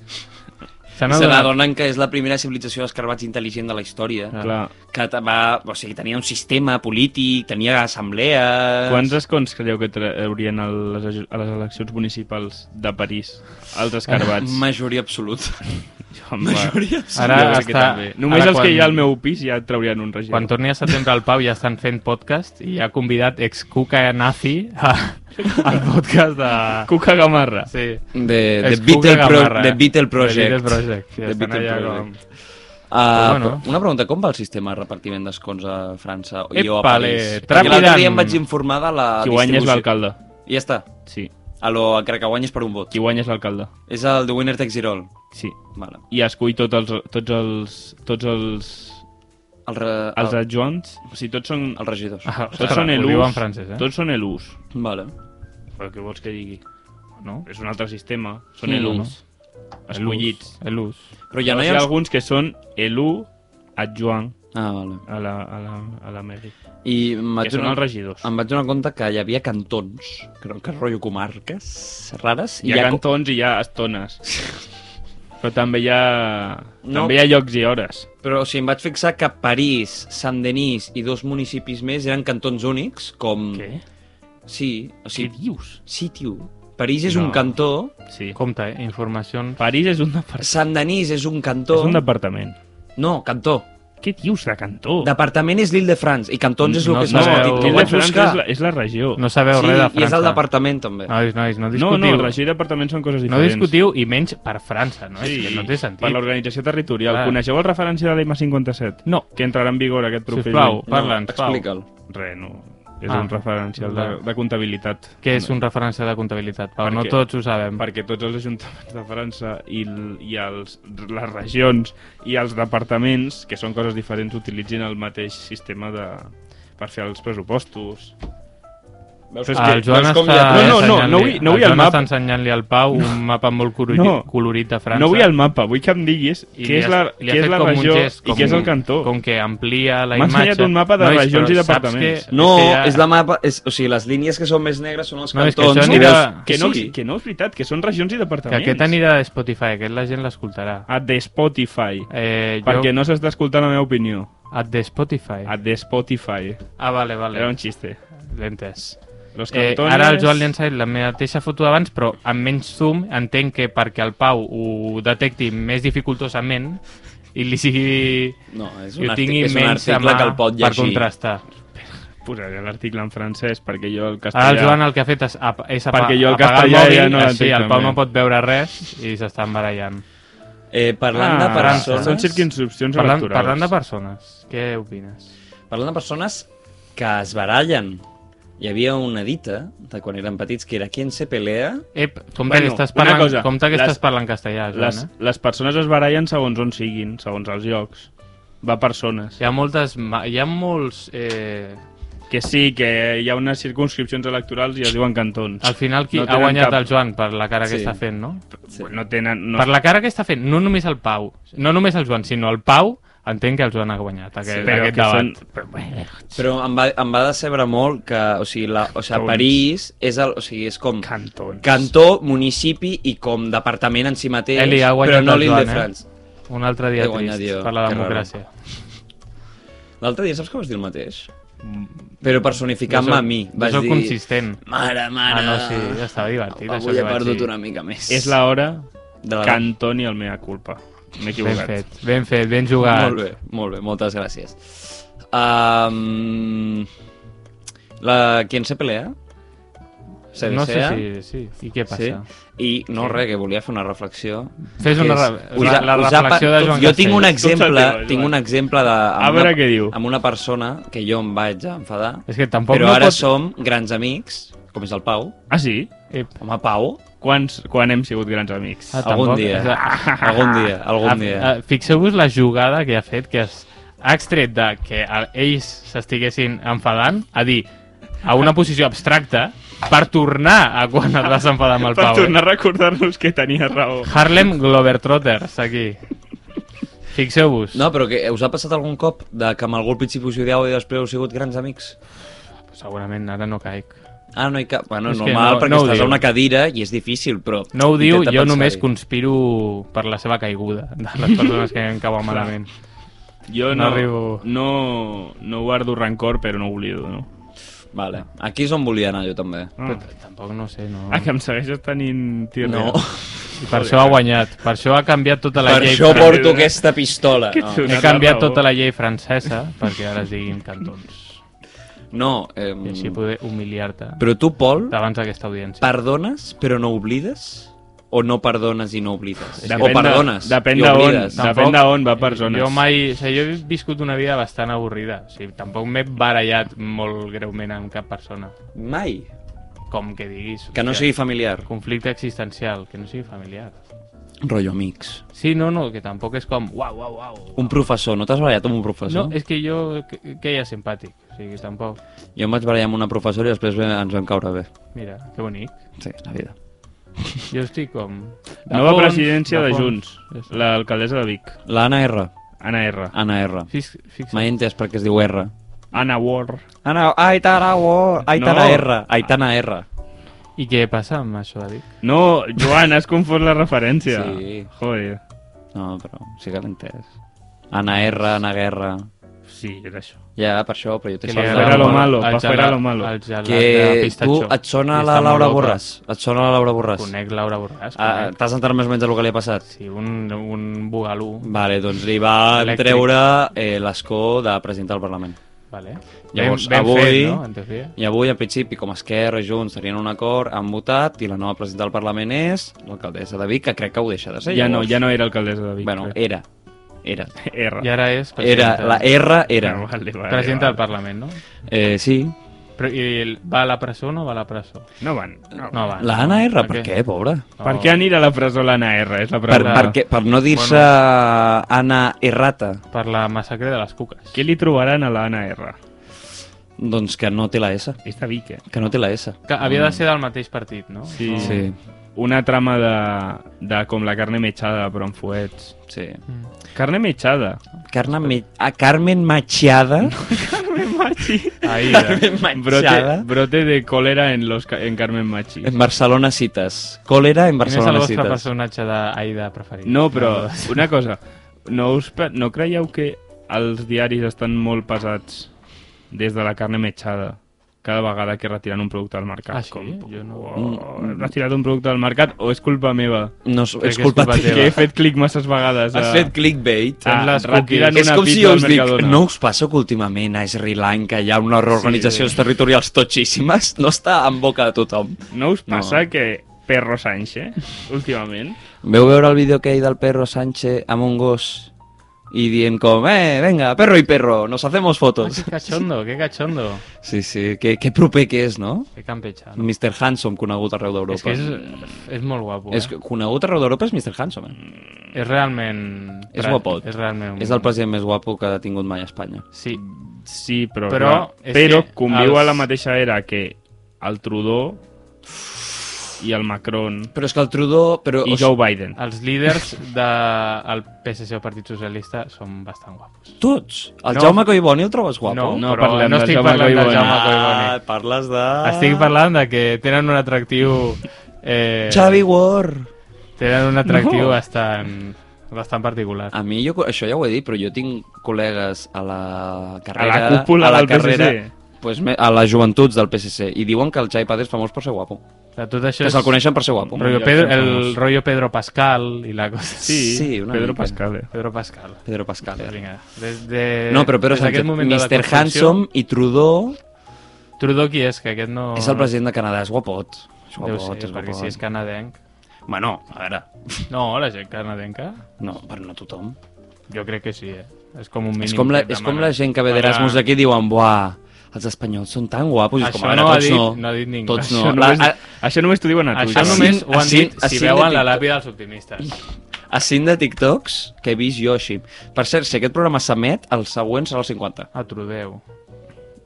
S3: S'han
S1: I se
S3: adonat.
S1: n'adonen que és la primera civilització d'escarbats intel·ligent de la història.
S3: Ah.
S2: Clar.
S1: Que te- va, o sigui, tenia un sistema polític, tenia assemblees...
S2: Quants escons creieu que traurien a les, aju- a les eleccions municipals de París? Els
S3: Ah,
S2: escarbats.
S1: Majoria absoluta.
S2: Home,
S1: majoria
S3: Ara
S2: jo crec que
S3: està...
S2: també. Només
S3: ara
S2: els que
S3: quan-
S2: hi ha al meu pis ja traurien un regidor.
S3: Quan torni a setembre al Pau ja estan fent podcast i ha convidat ex-Cuca Nazi a, al podcast de...
S2: Cuca Gamarra.
S3: Sí.
S1: De, de,
S3: Ex-Cuca
S1: Beatle Pro,
S3: Gamarra. eh?
S1: de Beatle
S3: The
S1: Project.
S3: Beatle Project. Sí,
S1: The
S3: estan
S1: Beatle
S3: allà com...
S1: Project. Ah,
S3: Però
S1: bueno.
S3: bueno.
S1: Una pregunta, com va el sistema de repartiment d'escons a França i o a
S3: Epale,
S1: París? Perquè
S3: trapidant.
S1: L'altre dia em vaig informar de la
S2: Qui guanya és
S1: distribució.
S2: l'alcalde.
S1: I ja està.
S2: Sí.
S1: A lo, encara que guanyes per un vot.
S2: Qui guanya és l'alcalde.
S1: És el The Winner Takes It All.
S2: Sí.
S1: Vale.
S2: I escull tots els, tots els, tots els,
S1: El, re,
S2: els
S1: el,
S2: adjunts. O sigui, tots són,
S1: els regidors.
S3: Ah,
S2: tots són
S3: ho diu en
S2: elus.
S3: francès, eh?
S2: Tots són elus.
S1: Vale.
S2: Però què vols que digui?
S3: No?
S2: És un altre sistema. Són
S3: Sí,
S2: elus. Escollits.
S3: Elus.
S1: Però ja no
S2: Llavors
S1: hi
S2: hi
S1: ha...
S2: ha alguns que són elu adjuant
S1: Ah, vale.
S2: a la, a la, a la meri.
S1: I em
S2: Que
S1: vaig,
S2: són
S1: donar,
S2: els regidors.
S1: em vaig donar compte que hi havia cantons, que, que rotllo comarques rares.
S2: Hi ha
S1: co-
S2: cantons i hi ha estones. Però també hi ha...
S1: No.
S2: També hi ha llocs i hores.
S1: Però o sigui, em vaig fixar que París, Sant-Denis i dos municipis més eren cantons únics, com... Sí, o
S2: Què
S1: sigui,
S2: dius?
S1: sí, tio. París és
S3: No.
S1: un cantó,
S2: Sí.
S3: Compte, eh? Informacions...
S2: París és un departament.
S1: Sant-Denis és un cantó...
S2: És un departament.
S1: No, cantó.
S2: Què dius de cantó?
S1: Departament és l'Île-de-France i cantons és el
S3: No,
S1: que és
S2: No,
S1: més
S3: sabeu-
S1: petit.
S2: no,
S1: Ho
S2: no,
S1: vaig
S2: és,
S1: buscar.
S2: la, és la regió.
S3: No sabeu res de França.
S1: i és el departament, també.
S2: Ah,
S3: Nois, nois, no
S2: no,
S3: discutiu.
S2: no, regió i departament són coses
S3: No
S2: diferents.
S3: discutiu i menys per França, no?
S2: Sí,
S3: És que no té sentit.
S2: Per l'organització territorial.
S3: Clar.
S2: Coneixeu el referència de l'EMA 57?
S3: No.
S2: Que entrarà en vigor aquest proper
S3: Sisplau,
S2: juny?
S3: parla'ns,
S1: no,
S3: Pau.
S1: Explica'l.
S2: Re, no. És
S3: Ah.
S2: un referencial de,
S3: Clar.
S2: de comptabilitat.
S3: Què és un referència de comptabilitat, Pau?
S2: Per
S3: No
S2: què?
S3: tots ho sabem.
S2: perquè tots els ajuntaments de França i, l- i els, les regions i els departaments, que són coses diferents, utilitzin el mateix sistema de, per fer els pressupostos. Veus
S3: Ah, el Joan
S2: veus
S3: està
S2: com ja- No, no, no, no
S3: ensenyant-li-
S2: vull, no vull
S3: el
S2: el
S3: Joan està
S2: mapa.
S3: ensenyant-li al Pau un mapa molt colorit,
S2: No.
S3: colorit de França.
S2: No vull el mapa, vull que em diguis
S3: I
S2: què
S3: li
S2: és
S3: has-
S2: la,
S3: li
S2: què
S3: has
S2: és
S3: fet
S2: la
S3: com un
S2: regió
S3: gest,
S2: i
S3: com
S2: què és el
S3: un-
S2: cantó.
S3: Com que amplia la
S2: M'ha
S3: imatge.
S2: ensenyat un mapa de
S3: Nois,
S2: regions
S3: però
S2: i
S3: saps
S2: departaments.
S3: que-
S1: No,
S3: que ja-
S1: és la mapa... És, o sigui, les línies que són més negres són els
S3: No, és que
S1: cantons.
S3: això
S1: i
S3: anirà-
S1: veus-
S2: Que no,
S1: sí.
S2: que no és veritat, que són regions i
S3: Que
S2: departaments.
S3: aquest anirà a Spotify, aquest la gent l'escoltarà.
S2: A The Spotify.
S3: Eh,
S2: Perquè
S3: jo...
S2: Ah, no s'està escoltant la meva opinió.
S3: A de Spotify.
S2: A The Spotify.
S3: Ah, vale, vale.
S2: Era un xiste.
S3: L'he entès.
S2: Los
S3: Eh,
S2: cantones...
S3: ara el Joan li ha ensenyat la mateixa foto d'abans, però amb menys zoom entenc que perquè el Pau ho detecti més dificultosament, i li sigui...
S1: No, és
S3: Jo
S1: un,
S3: tingui
S1: artic, és un
S3: menys a
S1: article
S3: mà
S1: que el pot
S3: per
S1: llegir.
S3: contrastar.
S2: Posaré l'article en francès perquè jo el castellà...
S3: Ara el Joan el que ha fet és, ap és apa
S2: Perquè jo el
S3: apagar el
S2: castellà
S3: mòbil,
S2: ja no
S3: així
S2: l'entenc,
S3: el Pau
S2: també.
S3: no pot veure res i s'estan barallant.
S1: Eh, parlant
S3: Ah,
S1: de persones...
S2: Ah, Són circunscripcions
S3: eh? Parlant,
S2: electorals.
S3: parlant de persones, què opines?
S1: Parlant de persones que es barallen. Hi havia una dita de quan érem petits que era quien se pelea...
S3: Ep, compte
S2: Bueno,
S3: que estàs
S2: una
S3: parlant,
S2: cosa,
S3: compte que
S2: les-
S3: estàs parlant castellà, Joan,
S2: les,
S3: eh?
S2: les persones es barallen segons on siguin, segons els llocs. Va a persones.
S3: Hi ha moltes... ma- Hi ha molts... Eh...
S2: Que sí, que hi ha unes circunscripcions electorals i es diuen cantons.
S3: Al final qui
S2: No
S3: no ha
S2: tenen
S3: guanyat
S2: cap-
S3: el Joan per la cara que
S1: Sí.
S3: està fent, no?
S1: Sí.
S2: No tenen... No...
S3: Per la cara que està fent, no només el Pau, no només el Joan, sinó el Pau, entenc que el Joan ha guanyat aquest,
S2: però
S3: aquest
S2: que
S3: debat.
S2: són... Però, bueno,
S1: Però em va, em va decebre molt que, o sigui, la, o sigui
S2: Cantons.
S1: París és, el, o sigui, és com
S2: cantons.
S1: cantó, municipi i com departament en si mateix,
S3: Eli, ha guanyat
S1: però no
S3: el Joan, eh?
S1: France.
S3: Un altre dia
S1: He guanyat
S3: trist
S1: jo,
S3: per la
S1: que
S3: democràcia.
S1: L'altre dia saps que vas dir el mateix? Però personificant-me
S3: Jo
S1: a
S3: soc-
S1: mi.
S3: jo
S1: Vas
S3: soc
S1: dir...
S3: consistent.
S1: Mare, mare...
S3: Ah, no, sí, estava divertit, això
S1: Avui
S3: que
S1: he
S3: vaig
S1: perdut
S3: dir.
S1: una mica més.
S2: És la hora
S1: De la-
S2: canton i el mea culpa. M'he
S3: Ben
S2: equivocat.
S3: fet, ben fet, ben jugat.
S1: Molt bé, molt bé, moltes gràcies. Um, la... Qui en se pelea? Se
S3: no sé
S1: desea?
S3: si... Sí. I què passa?
S1: Sí? I no, res, que volia fer una reflexió.
S3: Fes una
S1: Que és-
S3: re- la- la
S1: us
S3: reflexió de Joan
S1: Jo tinc un
S3: Castells.
S1: exemple,
S2: Escolta, Joan.
S1: tinc un exemple de... amb
S2: A veure
S1: una-
S2: què diu.
S1: Amb una persona que jo em vaig a enfadar,
S3: És que tampoc
S1: però
S3: no
S1: ara
S3: pot-
S1: som grans amics, com és el Pau.
S2: Ah, sí?
S3: Ep.
S1: Home, Pau,
S2: Quants, quan hem sigut grans amics?
S3: Ah,
S1: algun
S3: tampoc.
S1: dia,
S3: És a-
S1: algun dia,
S3: Ah,
S1: algun dia.
S3: ah, Fixeu-vos la jugada que ha fet, que es ha extret de que el- ells s'estiguessin enfadant, a dir, a una posició abstracta, per tornar a quan et vas enfadar amb el
S2: per
S3: Pau. eh?
S2: tornar a recordar-nos que tenia raó.
S3: Harlem Globetrotters, aquí. Fixeu-vos.
S1: No, però que us ha passat algun cop de que amb algú al principi us odiau i després heu sigut grans amics?
S3: Segurament ara no caic.
S1: Ah, no hi cap... Bueno,
S3: És
S1: és
S3: que
S1: normal,
S3: no-
S1: no, perquè
S3: no ho
S1: no estàs
S3: diu.
S1: a una cadira i és difícil, però...
S3: No ho diu,
S1: intenta
S3: jo
S1: pensar-hi.
S3: només conspiro per la seva caiguda, de les persones que em cauen malament.
S2: Jo
S3: No
S2: no,
S3: arribo.
S2: no, no, guardo rancor, però no oblido, no?
S1: Vale. Aquí és on volia anar jo també.
S2: Ah,
S3: Però tampoc no sé, no...
S2: ah que em segueixes tenint tir
S1: No.
S3: I per això ha guanyat, per això ha canviat tota la
S1: Per
S3: llei
S1: això
S3: fran-
S1: porto aquesta pistola.
S2: Que xulo.
S1: No,
S3: He
S2: Donat la
S3: canviat
S2: raó.
S3: tota la llei francesa perquè ara es diguin cantons.
S1: no ehm,
S3: I així poder humiliar-te
S1: però tu, Pol,
S3: davant d'aquesta audiència.
S1: perdones però no oblides? O no perdones i no oblides?
S2: Depèn
S1: o
S2: de-
S1: perdones
S2: depèn
S1: i
S2: de on.
S1: oblides?
S2: Depèn de on va persones.
S3: Jo mai... O sigui, jo he viscut una vida bastant avorrida. O sigui, tampoc m'he barallat molt greument amb cap persona.
S1: Mai.
S3: Com que diguis...
S1: Que no
S3: hòstia,
S1: sigui familiar.
S3: Conflicte existencial, que no sigui familiar.
S1: Rollo amics.
S3: Sí, no, no, que tampoc és com... Uau, uau, uau.
S1: Un professor. No t'has barallat amb un professor?
S3: No, és que jo que- queia simpàtic. O sigui, tampoc...
S1: Jo em vaig barallar amb una professora i després ve- ens vam caure bé.
S3: Mira, que bonic.
S1: Sí, la vida.
S3: Jo estic com... de
S2: Nova
S3: fons,
S2: presidència de
S3: fons.
S2: Junts, l'alcaldessa de Vic,
S1: L'Anna R.
S2: Anna R.
S1: Anna R.
S3: Fix, fix,
S1: Mai he entès per què es diu R.
S2: Anna War.
S1: Anna, Aitana, oh, Aitana
S2: No.
S1: R. Aitana R.
S3: I què passa amb això, David?
S2: No, Joan, has confós la referència.
S1: Sí.
S2: Joder.
S1: No, però sí que l'he entès. Anna R, Anna Guerra...
S2: Sí, era això.
S1: Ja, per això, però jo t'he
S3: Que li
S1: saltat.
S2: agrada
S3: agrada
S2: lo
S3: molt
S2: malo,
S3: el
S2: pa fuera
S3: gelat-
S2: lo malo.
S3: el gelat de
S1: Que tu
S3: pistatxó.
S1: et sona
S3: I
S1: la
S3: està
S1: Laura
S3: molt boca.
S1: Borràs. Et sona la Laura Borràs.
S3: Conec Laura Borràs.
S1: Ah,
S3: conec.
S1: T'has entrat més o menys del que li ha passat?
S3: Sí, un, un bugalú.
S1: Vale, doncs li va
S3: Elèctric.
S1: treure eh, l'escó de president del Parlament.
S3: Vale.
S1: Llavors,
S3: ben, ben
S1: avui-
S3: Fet, no? En teoria.
S1: I avui, en principi, com Esquerra i Junts tenien un acord, han votat, i la nova presidenta del Parlament és l'alcaldessa de Vic, que crec que ho deixa de ser.
S2: Ja no,
S1: llavors.
S2: ja no era alcaldessa de Vic. eh.
S1: Bueno,
S2: crec.
S1: era. Era.
S2: R.
S3: I ara és
S1: Era, la E. R era.
S2: Ah, vale, vale,
S3: presidenta
S2: vale.
S3: del Parlament, no?
S1: Eh, sí.
S3: Però, I el- va a la presó o no va a la presó?
S2: No van. No.
S3: No va.
S1: La Anna R, per
S3: Ok.
S1: què, pobra?
S3: No.
S2: Per què anirà a la presó l'Anna R? És la
S1: Per,
S2: pregunta.
S1: per, què, per no dir-se Anna Errata.
S3: Per la massacre de les cuques.
S2: Què li trobaran a l'Anna R?
S1: Doncs que no té la S.
S2: És de Vic, eh?
S1: Que no té la S.
S3: Que havia de ser del mateix partit, no?
S2: Mm. Sí.
S3: No.
S1: Sí,
S2: Una trama de, de com la carne mechada, però amb fuets.
S1: sí.
S3: Mm.
S2: Carne mechada.
S1: Carmen, Me a Carmen Machada.
S2: Carmen Machi.
S3: Ahí, eh.
S2: Brote, brote de cólera en, los, ca- en Carmen Machi.
S1: En Barcelona cites. Cólera en
S3: Quin és el
S1: Barcelona
S3: vostre
S1: cites.
S3: personatge d'Aida preferit? Ah,
S2: No, però una cosa. No, us, pe- no creieu que els diaris estan molt pesats des de la carne mechada? cada vegada que retiren un producte al mercat.
S3: Ah, sí?
S2: Com,
S3: Jo no-
S2: "Oh,
S1: Mm,
S2: hem retirat un producte al mercat o és culpa meva?
S1: No, és,
S3: Crec
S1: és
S3: que és
S1: culpa
S3: culpa
S1: teva.
S2: Que he fet clic masses vegades.
S1: Has
S2: a-
S1: fet clickbait.
S3: Ah, les
S2: retiren
S3: cookies.
S1: és
S2: una
S1: com si
S2: pizza
S1: jo
S2: al
S1: us dic,
S2: Mercadona.
S1: no us passa que últimament a Sri Lanka hi ha unes reorganitzacions territorials totxíssimes? No està en boca de tothom.
S2: No us
S1: No.
S2: passa que Perro Sánchez, últimament?
S1: Veu veure el vídeo que hi del perro Sánchez amb un gos i dient com, eh, venga, perro i perro, nos hacemos fotos.
S3: Qué cachondo, qué cachondo.
S1: Sí, sí, que, que proper que és, no?
S3: Qué campecha. ¿no?
S1: Mr. Handsome, conegut arreu d'Europa.
S3: És que és, és molt guapo. Eh?
S1: és
S3: És,
S1: que conegut arreu d'Europa és Mr. Handsome. Eh?
S3: és realment...
S1: És guapot.
S3: És realment...
S1: És el president més guapo que ha tingut mai a Espanya.
S3: Sí,
S2: Sí, però,
S3: Però
S2: però,
S3: és
S2: clar, però
S3: que
S2: conviu
S3: els-
S2: a la mateixa era que el Trudeau i el Macron
S1: Però és que el Trudeau... Però,
S2: i Joe Biden.
S3: els líders del de... el PSC o Partit Socialista són bastant guapos.
S1: Tots. El
S3: No.
S1: no. Jaume Collboni el trobes guapo?
S3: No,
S2: No
S3: però
S2: parlem
S3: no
S2: del
S3: estic
S2: Jaume
S3: parlant del
S2: Collboni.
S3: Jaume
S1: Ah,
S3: Collboni.
S1: parles de...
S3: Estic parlant de que tenen un atractiu... Eh,
S1: Xavi Ward.
S3: Tenen un atractiu
S1: No.
S3: bastant, bastant particular.
S1: A mi, jo, això ja ho he dit, però jo tinc col·legues a la carrera...
S2: A la cúpula
S1: a la
S2: del
S1: carrera,
S2: PSC.
S1: Pues, me- a les joventuts del PSC. I diuen que el Xavi Padres és famós per ser guapo.
S3: De tot això
S1: Que se'l coneixen per ser guapo.
S3: Rollo
S2: Ja
S3: Pedro,
S2: són
S3: el
S2: famosos.
S3: rollo Pedro Pascal i la cosa...
S2: Sí,
S1: Sí,
S2: sí
S1: una
S2: Pedro
S1: mica.
S2: Pascal. eh?
S3: Pedro Pascal.
S1: Pedro Pascal. eh?
S3: Vinga, des de...
S1: No, però Pedro
S3: des d'aquest
S1: Sánchez,
S3: moment de la
S1: Mr.
S3: construcció-
S1: Handsome i Trudeau
S3: Trudeau qui és? Que aquest no...
S1: és el president de Canadà, és guapot. És
S3: Oh. Deu
S1: guapot, és
S3: ser,
S1: eh.
S3: perquè
S1: guapot.
S3: si és canadenc...
S1: Bueno, a veure,
S3: No, la gent canadenca?
S1: no, però no tothom.
S3: Jo crec que sí, eh? És com un mínim...
S1: és com, la,
S3: que et
S1: és com
S3: demanen.
S1: la gent que ve
S3: Parlar-
S1: d'Erasmus aquí i diuen buah, els espanyols són tan guapos. I és com,
S3: Això
S1: a veure,
S3: no ho ha
S1: tots
S3: dit-
S1: no.
S3: no ha dit ningú.
S1: Tots no.
S2: Això,
S1: La,
S2: només,
S1: a,
S2: això només t'ho diuen a tu.
S3: Això
S2: Jaume.
S3: només
S1: Assin-
S3: ho han dit
S1: assin-
S3: si
S1: assin
S3: veuen
S1: de
S3: la
S1: TikTok.
S3: làpida dels optimistes.
S1: a cinc de TikToks que he vist jo així. Per cert, si aquest programa s'emet, el següent serà el 50.
S3: A Trudeau.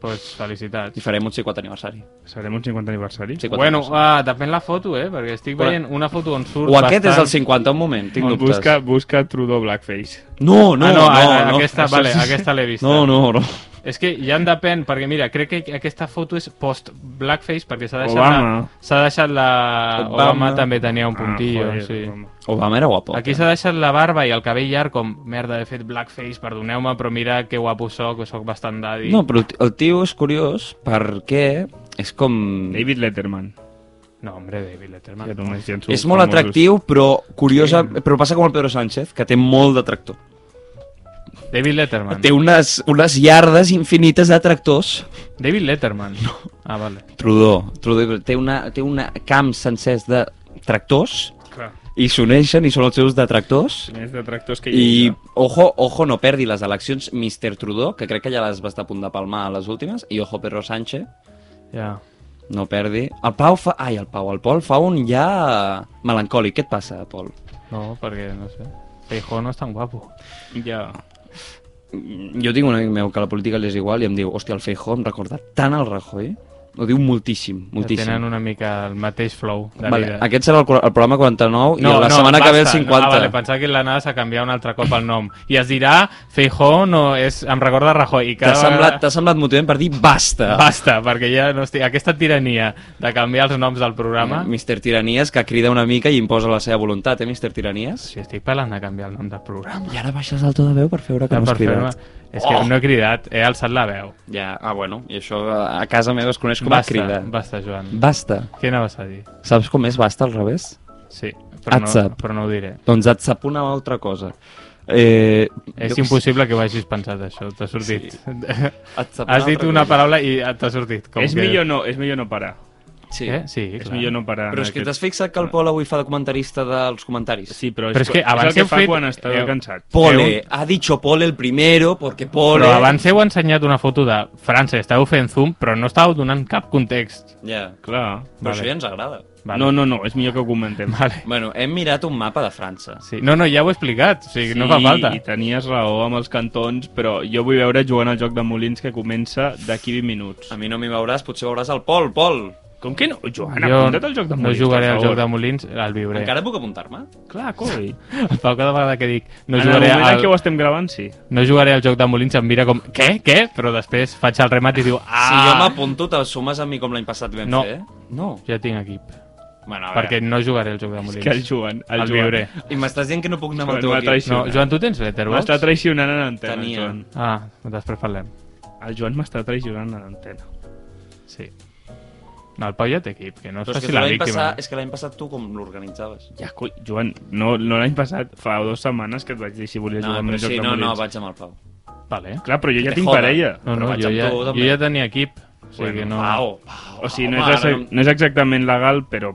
S3: Pues felicitats.
S1: I farem un 50 aniversari.
S2: Serem un 50 aniversari.
S1: 50
S3: Bueno,
S1: aniversari.
S3: ah, depèn la foto, eh? Perquè estic
S1: Però-
S3: veient una foto on surt
S1: o aquest és el
S3: bastant...
S1: 50, un moment, tinc
S2: On
S1: dubtes.
S2: busca, busca Trudeau Blackface.
S1: No, no,
S3: ah, no,
S1: no,
S3: a- a-
S1: no.
S3: aquesta,
S1: Això
S3: vale,
S1: sí.
S3: aquesta l'he vista.
S1: No, no, no.
S3: És que ja en depèn, perquè mira, crec que aquesta foto és post-blackface, perquè s'ha deixat,
S2: Obama. Ah,
S3: la- s'ha deixat la...
S1: Obama.
S3: Obama. també tenia un puntillo,
S2: joder,
S3: sí.
S2: home.
S1: Obama era guapo.
S3: Aquí s'ha deixat la barba i el cabell llarg com, merda, he fet blackface, perdoneu-me, però mira que guapo soc, que soc bastant daddy.
S1: No, però el ti- el tio és curiós perquè és com...
S2: David Letterman.
S3: no hombre, David Letterman.
S2: Ja només hi han
S1: És molt
S2: famosos.
S1: atractiu, però curiosa... Però passa com el Pedro Sánchez, que té molt de tractor.
S3: David Letterman.
S1: Té unes, unes iardes infinites de tractors.
S3: David Letterman. Ah, vale.
S1: Trudeau. Trudeau té, una, té un camp sencers de tractors
S2: Clar,
S1: i s'uneixen i són els seus detractors.
S2: més de tractors que hi
S1: I,
S2: ha.
S1: ojo, ojo, no perdi les eleccions Mr. Trudeau, que crec que ja les va estar a punt de palmar a les últimes, i ojo, Pedro Sánchez,
S3: Ja.
S1: no perdi. El Pau fa... Ai, el Pau, el Pol fa un ja melancòlic. Què et passa, Pol?
S3: No, perquè, no sé. Feijó no és tan guapo.
S2: Ja.
S1: Mm, Jo tinc un amic meu que la política li és igual i em diu, hòstia, el Feijó em recorda tant el Rajoy. Ho diu moltíssim, moltíssim.
S3: Tenen una mica el mateix flow de
S1: Vale,
S3: vida.
S1: aquest serà el, cor- el programa 49 no, i la setmana que ve el
S3: basta.
S1: 50.
S3: Ah, vale, pensava que l'anada s'ha canviat un altre cop el nom. I es dirà, Feijó no és... Em recorda Rajoy. I
S1: T'ha
S3: cada
S1: semblat,
S3: vegada...
S1: t'ha semblat motivant per dir basta.
S3: Basta, perquè ja no estic... Aquesta tirania de canviar els noms del programa...
S1: eh, Mister Tiranies, que crida una mica i imposa la seva voluntat, eh, Mister Tiranies?
S3: Si estic parlant de canviar el nom del programa.
S1: I ara baixes el to de veu per fer veure que no has
S3: Per fer-me-
S1: cridat. Oh!
S3: És que no he cridat, he alçat la veu.
S1: Ja, ah, bueno, i això a a casa meva es coneix com a
S3: basta,
S1: crida.
S3: basta, Joan.
S1: Basta.
S3: Què anaves a dir?
S1: Saps com és basta al revés?
S3: Sí, però no,
S1: Atzap.
S3: però no ho diré.
S1: Doncs et sap una altra cosa. Eh,
S3: És
S1: jo què
S3: impossible que ho hagis pensat, això. T'ha sortit.
S1: sé, et sap
S3: Has dit
S1: altra
S3: una
S1: cosa.
S3: paraula i t'ha sortit. Com
S2: És,
S3: que...
S2: millor no, és millor no parar.
S1: Sí.
S3: Eh? Sí,
S2: És
S3: clar.
S2: millor no parar. en
S1: Però és que t'has
S2: aquest-
S1: fixat que el Pol avui fa de comentarista dels comentaris?
S2: Sí, però,
S3: Però és que
S2: és
S3: abans
S2: el que
S3: heu
S2: fa
S3: fet-
S2: quan està
S3: heu-
S2: cansat.
S1: Pole, ha dicho Pole el primero, porque Pole...
S3: Però abans heu ensenyat una foto de França, estàveu fent zoom, però no estàveu donant cap context.
S1: Ja,
S2: Clar.
S1: però
S3: Vale.
S1: això ja ens agrada.
S3: Vale.
S2: No, no, no, és millor que ho comentem.
S3: Vale.
S1: Bueno, hem mirat un mapa de França.
S3: Sí. No, no, ja ho he explicat, o sigui, sí, no fa falta.
S2: I tenies raó amb els cantons, però jo vull veure jugant al joc de Molins que comença d'aquí 20 minuts.
S1: A mi no m'hi veuràs, potser veuràs el Pol, Pol.
S2: Com que no? Joan,
S3: Jo
S2: apunta't al joc de
S3: no
S2: Molins,
S3: jugaré
S2: per
S3: al
S2: favor.
S3: joc de Molins, el viuré.
S1: Encara puc apuntar-me?
S2: Clar, coi.
S3: El Pau cada vegada que dic
S2: No
S3: no
S2: en el
S3: jugaré,
S2: moment
S3: al...
S2: en què ho estem gravant, sí.
S3: no jugaré al joc de Molins em mira com, què, què? Però després faig el remat i diu, ah,
S1: Si jo m'apunto, te sumes a mi com l'any passat vam
S3: No.
S1: fer? No.
S3: ja tinc equip.
S1: Bueno, a
S3: Perquè
S1: veure.
S3: no jugaré al joc de Molins.
S2: Que el Joan, el,
S3: El
S2: Joan.
S3: viuré.
S1: I m'estàs dient que no puc anar amb el
S2: Joan
S1: teu
S2: m'ha
S1: equip?
S3: No,
S2: traicionat.
S3: Joan, tu tens letterbox?
S2: M'està traicionant a l'antena,
S1: Tenia.
S2: Joan.
S3: Ah, després parlem.
S2: El Joan m'està traicionant a l'antena.
S3: Sí. No, el Pau ja té equip, que no es
S1: Però és
S3: faci
S1: que
S3: la
S1: l'any
S3: víctima. eh.
S1: passat, és que l'any passat tu com l'organitzaves?
S2: Ja, coi, Joan, no, no l'any passat, fa dues setmanes que et vaig dir si volies
S1: No,
S2: jugar amb
S1: però
S2: un joc
S1: sí,
S2: de
S1: no,
S2: molins.
S1: no, vaig amb el Pau.
S3: Vale.
S2: Clar, però jo
S1: Que
S2: ja
S1: te
S2: tinc
S1: joda.
S2: parella.
S3: No, no,
S1: Però vaig
S3: jo
S1: amb
S3: ja,
S1: tu,
S3: jo
S1: també.
S3: ja tenia equip. O sigui
S1: Bueno,
S3: que no...
S1: Pau, Pau,
S2: O sigui, no
S1: home,
S2: és,
S1: ara
S2: exa- no és exactament legal, però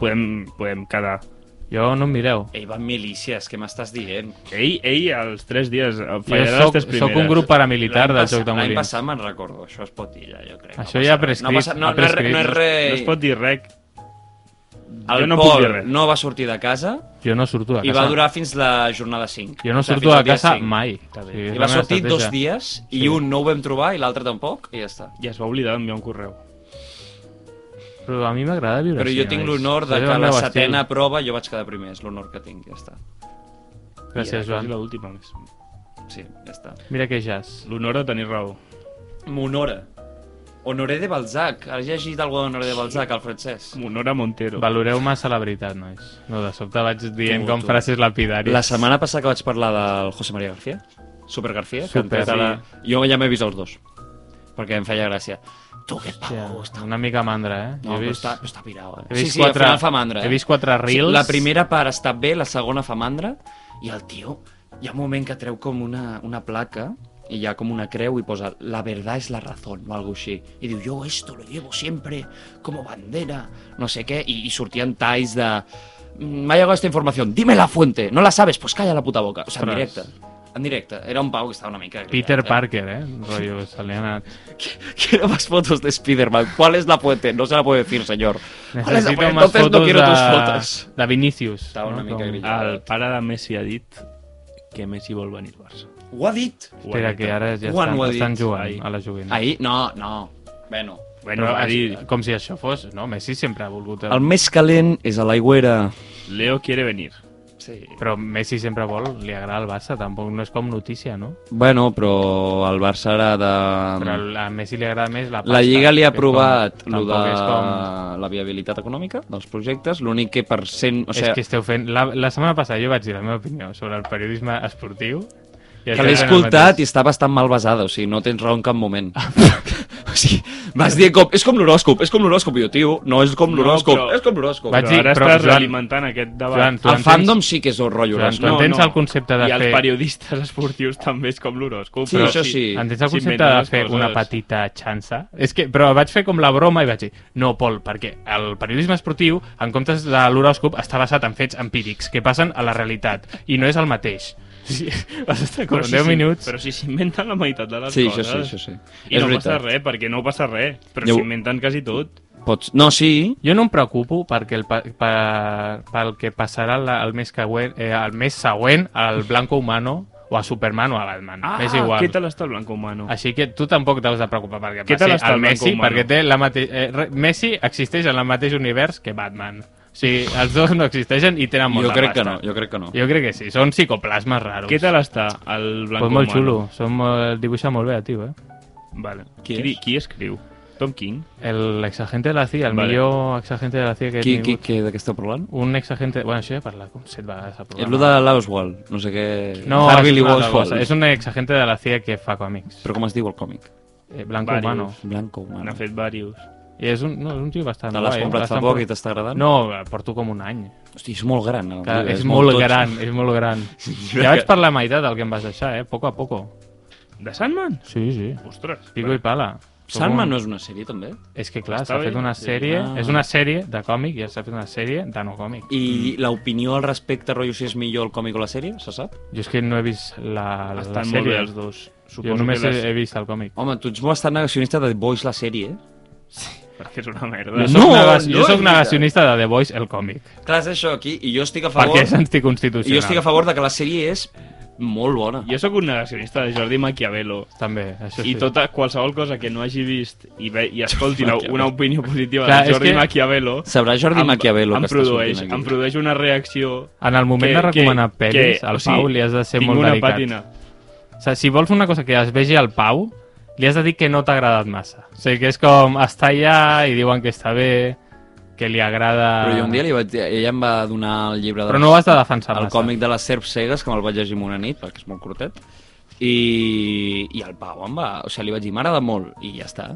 S2: podem, podem quedar.
S3: Jo no em mireu.
S1: Ell va amb milícies, què m'estàs dient?
S2: Ell, ell, els tres dies, eh,
S3: Jo
S2: fallarà les
S3: soc,
S2: tres primeres.
S3: soc un grup paramilitar
S1: L'any
S3: del
S1: passa-
S3: joc de
S1: L'any
S3: molins.
S1: passat me'n recordo, això es pot dir ja, jo crec.
S3: Això
S1: passa
S3: ja
S1: res.
S3: prescrit,
S1: No, passa, no,
S3: ha
S1: no, és re-
S3: prescrit.
S1: no és res...
S2: No es pot dir res.
S1: El
S2: jo no puc
S1: Pol
S2: dir res.
S1: no va sortir de casa
S3: Jo no surto de
S1: i va
S3: casa.
S1: durar fins la jornada 5.
S3: Jo no
S1: O sigui,
S3: surto
S1: fins
S3: de
S1: al dia
S3: casa
S1: 5.
S3: mai. O sigui, és
S1: I
S3: la
S1: va
S3: meva
S1: sortir dos
S3: estratègia.
S1: dies i
S3: Sí.
S1: un no ho vam trobar i l'altre tampoc i ja està.
S2: I es va oblidar d'enviar un correu.
S3: Però a mi m'agrada viure
S1: Però
S3: així.
S1: jo tinc
S3: nois.
S1: l'honor de
S3: És el
S1: que a la
S3: meu estil.
S1: setena prova jo vaig quedar primer, és l'honor que tinc, ja està.
S2: I
S3: Gràcies,
S2: era quasi
S3: Joan.
S2: l'última més.
S1: Sí, ja està.
S3: Mira que jazz.
S2: L'honor de tenir raó.
S1: M'honora. Honoré de Balzac. Has llegit alguna d'Honoré de Balzac, al francès?
S2: Honor a Montero.
S3: Valoreu massa la veritat, nois. No, de sobte vaig dient
S1: Tu,
S3: com
S1: tu.
S3: frases lapidàries.
S1: La setmana passada que vaig parlar del José María García, Super García, que
S3: Super,
S1: han tret a la... jo ja m'he vist els dos, perquè em feia gràcia. Tu que
S3: Hòstia,
S1: pavo, Oh, està...
S3: una mica mandra, eh? Jo
S1: No,
S3: he
S1: però
S3: vist-
S1: està, però està pirau, eh?
S3: He vist
S1: sí, sí,
S3: quatre,
S1: al final fa mandra. eh?
S3: He vist quatre reels.
S1: Sí, la primera part està bé, la segona fa mandra, i el tio, hi ha un moment que treu com una, una placa, i hi ha com una creu i posa la verdad es la razón o algo així. I diu, jo esto lo llevo siempre como bandera, no sé què, i, i sortien talls de... "Mm, Me ha llegado esta información, dime la fuente, no la sabes, pues calla la puta boca. O sigui, en
S3: Ostres.
S1: directe. En directe. Era un pau que estava una mica... agriat,
S3: Peter
S1: eh?
S3: Parker, eh? Rollo, se li ha anat.
S1: Quiero más fotos de Spider-Man. ¿Cuál es la fuente? No se la puede decir, señor. ¿Cuál es la
S3: Necessito
S1: fuente?
S3: más
S1: Entonces
S3: fotos
S1: no quiero
S3: de...
S1: tus fotos.
S3: de Vinicius.
S1: Estava una mica grillat.
S2: El pare de Messi ha dit que Messi vol venir al Barça.
S1: Ho ha dit.
S3: Espera, que ara ja
S1: Quan
S3: estan,
S1: ho ha dit?
S3: estan jugant
S2: Ahir.
S3: a la joguina.
S1: Ahir? No, no. Bueno.
S2: Bueno,
S3: Però
S2: va
S3: així-
S2: dir,
S3: com si això fos... No, Messi sempre ha volgut...
S1: El més calent és a l'aigüera.
S2: Leo quiere venir.
S1: Sí.
S3: Però Messi sempre vol, li agrada el Barça, tampoc no és com notícia, no?
S1: Bueno, però el Barça ara de...
S3: Però a Messi li agrada més la pasta.
S1: Mm. La Lliga li ha
S3: que és
S1: aprovat
S3: com,
S1: lo de
S3: tampoc És, com,
S1: la viabilitat econòmica dels projectes, l'únic que per cent... O
S3: o sigui,
S1: sigui,
S3: és que esteu fent... La, la setmana passada jo vaig dir la meva opinió sobre el periodisme esportiu.
S1: que
S3: i esteu
S1: l'he
S3: fent el
S1: escoltat i
S3: mateix.
S1: està bastant mal basada, o sigui, no tens raó en cap moment. o sigui, vas dir com... És com l'horòscop, és com l'horòscop, i jo, tio, no és com
S2: No,
S1: l'horòscop,
S2: però-
S1: és com l'horòscop.
S3: Vaig
S2: Però
S3: dir-
S2: ara
S3: però,
S2: estàs
S3: Joan-
S2: alimentant aquest debat.
S3: Joan, tu
S1: El
S3: entens-
S1: fandom sí que és el rotllo
S3: Joan,
S1: horòscop.
S3: tu entens el concepte de
S2: I
S3: fer-
S2: els periodistes esportius també és com l'horòscop.
S1: Sí,
S2: però
S1: això sí.
S3: Entens el concepte
S2: S'inventen
S3: de
S2: les
S3: fer
S2: coses.
S3: una petita xança? És que, però vaig fer com la broma i vaig dir, no, Pol, perquè el periodisme esportiu, en comptes de l'horòscop, està basat en fets empírics que passen a la realitat, i no és el mateix. Sí, vas estar com
S2: Però
S3: 10
S2: si,
S3: minuts.
S2: Però si s'inventen la meitat de les
S1: Sí, això
S2: coses...
S1: sí, això sí.
S2: I
S1: És
S2: no passa
S1: veritat.
S2: res, perquè no passa res. Però
S1: Jo-
S2: s'inventen quasi tot.
S1: Pots... No, sí,
S3: Jo no em preocupo perquè el, pa, per, pel que passarà la, el, mes que, eh, el mes següent al Blanco Humano o a Superman o a Batman.
S2: Ah,
S3: M'és Mm. igual.
S2: què tal està el blanco humano?
S3: Així que tu tampoc t'has de preocupar perquè
S2: Què
S3: passi
S2: tal està
S3: el
S2: el
S3: Messi,
S2: Blanco Humano?
S3: perquè té la mate... eh, re- Messi existeix en el mateix univers que Batman. O sigui, els dos no existeixen i tenen molta
S1: jo crec que no,
S3: pasta.
S1: jo crec que no.
S3: Jo crec que sí, són psicoplasmes raros.
S2: Què tal està el blanco
S3: doncs. Pues molt
S2: humano?
S3: xulo, són molt... dibuixa molt bé, tio, eh?
S2: Vale.
S1: Qui
S2: Qui,
S1: és?
S2: qui, escriu? Tom King?
S3: El exagente de la CIA, el
S2: Vale.
S3: millor exagente de la CIA que he
S1: Qui, qui,
S3: tingut.
S1: qui de què esteu parlant?
S3: Un exagente... Bueno, això ja he parlat com set vegades al
S1: És
S3: programa.
S1: lo de l'Oswald, no sé què...
S3: No,
S1: Harvey
S3: és
S1: Lee
S3: una altra
S1: Oswald.
S3: cosa. És un exagente de la CIA que fa còmics.
S1: Però com es diu el còmic? Oh,
S3: Eh, Blanco
S2: Varios.
S3: Humano.
S1: Blanco
S2: N'ha
S1: humano.
S2: fet diversos.
S3: I és un, no, és un tio bastant
S1: Te l'has
S3: guai,
S1: comprat fa
S3: bastant
S1: poc
S3: pro-
S1: i t'està agradant?
S3: No, eh, porto com un any.
S1: Hosti, és molt gran. El
S3: Que
S1: llibre,
S3: és, molt
S1: tot.
S3: gran, és molt gran.
S1: que-
S3: Ja vaig per la meitat del que em vas deixar, eh? Poco a poco.
S2: De Sandman?
S3: Sí, sí.
S2: Ostres.
S3: Pico i pala.
S1: Sandman no és una sèrie, també?
S3: És que, clar,
S2: Està
S3: s'ha
S2: bé.
S3: fet una
S1: Sí.
S3: sèrie...
S1: Ah.
S3: És una sèrie de còmic i s'ha fet una sèrie de no còmic.
S1: I l'opinió al respecte, rotllo, si és millor el còmic o la sèrie, se sap?
S3: Jo és que no he vist la, la
S2: Estan molt bé
S3: sèrie.
S2: els dos.
S3: Jo
S2: Suposo
S3: només
S2: que les...
S3: he, he vist el còmic.
S1: Home, tu ets bastant negacionista de The Boys, la sèrie, eh?
S2: Perquè és una merda.
S3: Jo soc,
S1: No, no
S3: nega- jo
S1: és
S3: soc
S1: veritat.
S3: negacionista de The Voice, el còmic.
S1: Clar, és això aquí, i jo estic a favor...
S3: Perquè és
S1: I jo estic a
S3: anticonstitucional.
S1: favor de que la sèrie és molt bona.
S2: Jo sóc un negacionista de Jordi Maquiavelo.
S3: També, això sí.
S2: I tota, qualsevol cosa que no hagi vist i, ve, i escolti la, una opinió positiva
S3: Clar,
S2: de
S3: és
S2: Jordi
S3: que-
S2: Maquiavelo...
S1: Sabrà Jordi Maquiavelo
S2: em
S1: que està
S2: produeix,
S1: sortint aquí.
S2: Em produeix una reacció...
S3: En el moment
S2: que-
S3: de recomanar
S2: que-
S3: pel·lis,
S2: que,
S3: al
S2: o sigui,
S3: Pau li has de ser
S2: tinc
S3: molt
S2: una
S3: delicat.
S2: pàtina.
S3: O sigui, si vols una cosa que es vegi al Pau, li has de dir que no t'ha agradat massa. O sigui, que és com, està allà i diuen que està bé, que li agrada...
S1: Però jo un dia li vaig dir, ella em va donar el llibre de
S3: Però no ho has de defensar
S1: el
S3: massa.
S1: còmic de les serps cegues, que me'l vaig llegir amb una nit, perquè és molt curtet, I, i el Pau em va... O sigui, li vaig dir, m'agrada molt, i ja està.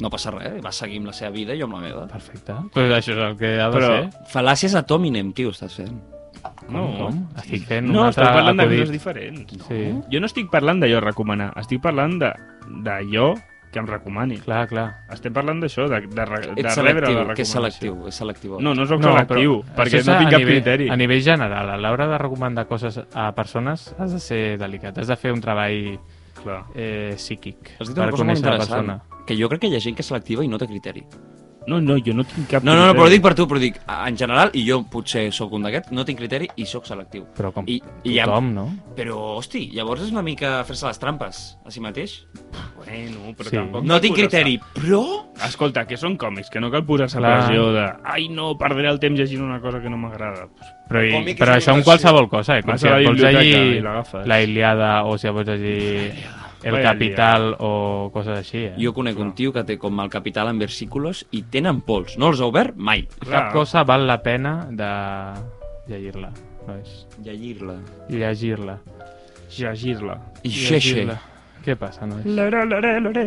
S1: No passa res, va seguir amb la seva vida i jo amb la meva.
S3: Perfecte. Pues això és el que ha de
S2: Però-
S3: ser.
S1: Fal·làcies a Tominem, tio, estàs fent.
S3: No, com? Estic fent
S2: No,
S3: un altre
S2: estic parlant de coses
S3: acudit.
S2: diferents.
S3: Sí.
S2: Jo no estic parlant d'allò recomanar, estic parlant de- d'allò que em recomani.
S3: Clar, clar.
S2: Estem parlant d'això, de, de, re- de
S1: Ets
S2: rebre la
S1: selectiu,
S2: recomanació.
S1: que és selectiu, és selectiu.
S2: No, no sóc
S3: No,
S2: selectiu,
S3: però
S2: perquè
S3: això
S2: no
S3: és
S2: tinc
S3: a
S2: cap
S3: nivell,
S2: criteri.
S3: A nivell general, a l'hora de recomanar coses a persones has de ser delicat, has de fer un treball
S2: Clar.
S3: eh, psíquic
S1: Has dit una cosa molt
S3: conèixer la
S1: interessant, que jo crec que hi ha gent que és selectiva i no té criteri.
S2: No, no, jo no tinc cap
S1: No, no, no,
S2: criteri.
S1: però ho dic per tu, però ho dic a- en general, i jo potser sóc un d'aquests, no tinc criteri i sóc selectiu.
S3: Però com
S1: I, i ja,
S3: tothom, no?
S1: Però, hosti, llavors és una mica fer-se les trampes a si mateix.
S2: Bueno, però
S3: Sí.
S2: tampoc...
S1: No
S2: cal
S1: tinc
S2: posar-se-
S1: criteri, però...
S2: Escolta, que són còmics, que no cal posar-se
S3: Clar.
S2: pressió de ai no, perdré el temps llegint una cosa que no m'agrada. Pues,
S3: Però,
S1: Com
S3: i,
S1: mi que
S3: però
S1: és
S3: això
S1: una
S3: amb qualsevol cosa, eh? Com
S2: Vas
S3: si
S2: a la
S3: et vols
S2: biblioteca i
S3: llegir
S2: l'agafes.
S3: la Iliada o si et vols llegir El
S2: Vaya
S3: Capital o coses així, eh?
S1: Jo conec un tio que té com el capital en versículos i tenen pols. No els ha obert mai.
S2: clar.
S3: Cap cosa val la pena de llegir-la, nois.
S1: Llegir-la.
S3: Llegir-la.
S2: llegir-la.
S1: I xeixe.
S3: Llegir-la. Què passa, nois?
S2: Lere, lere, lere.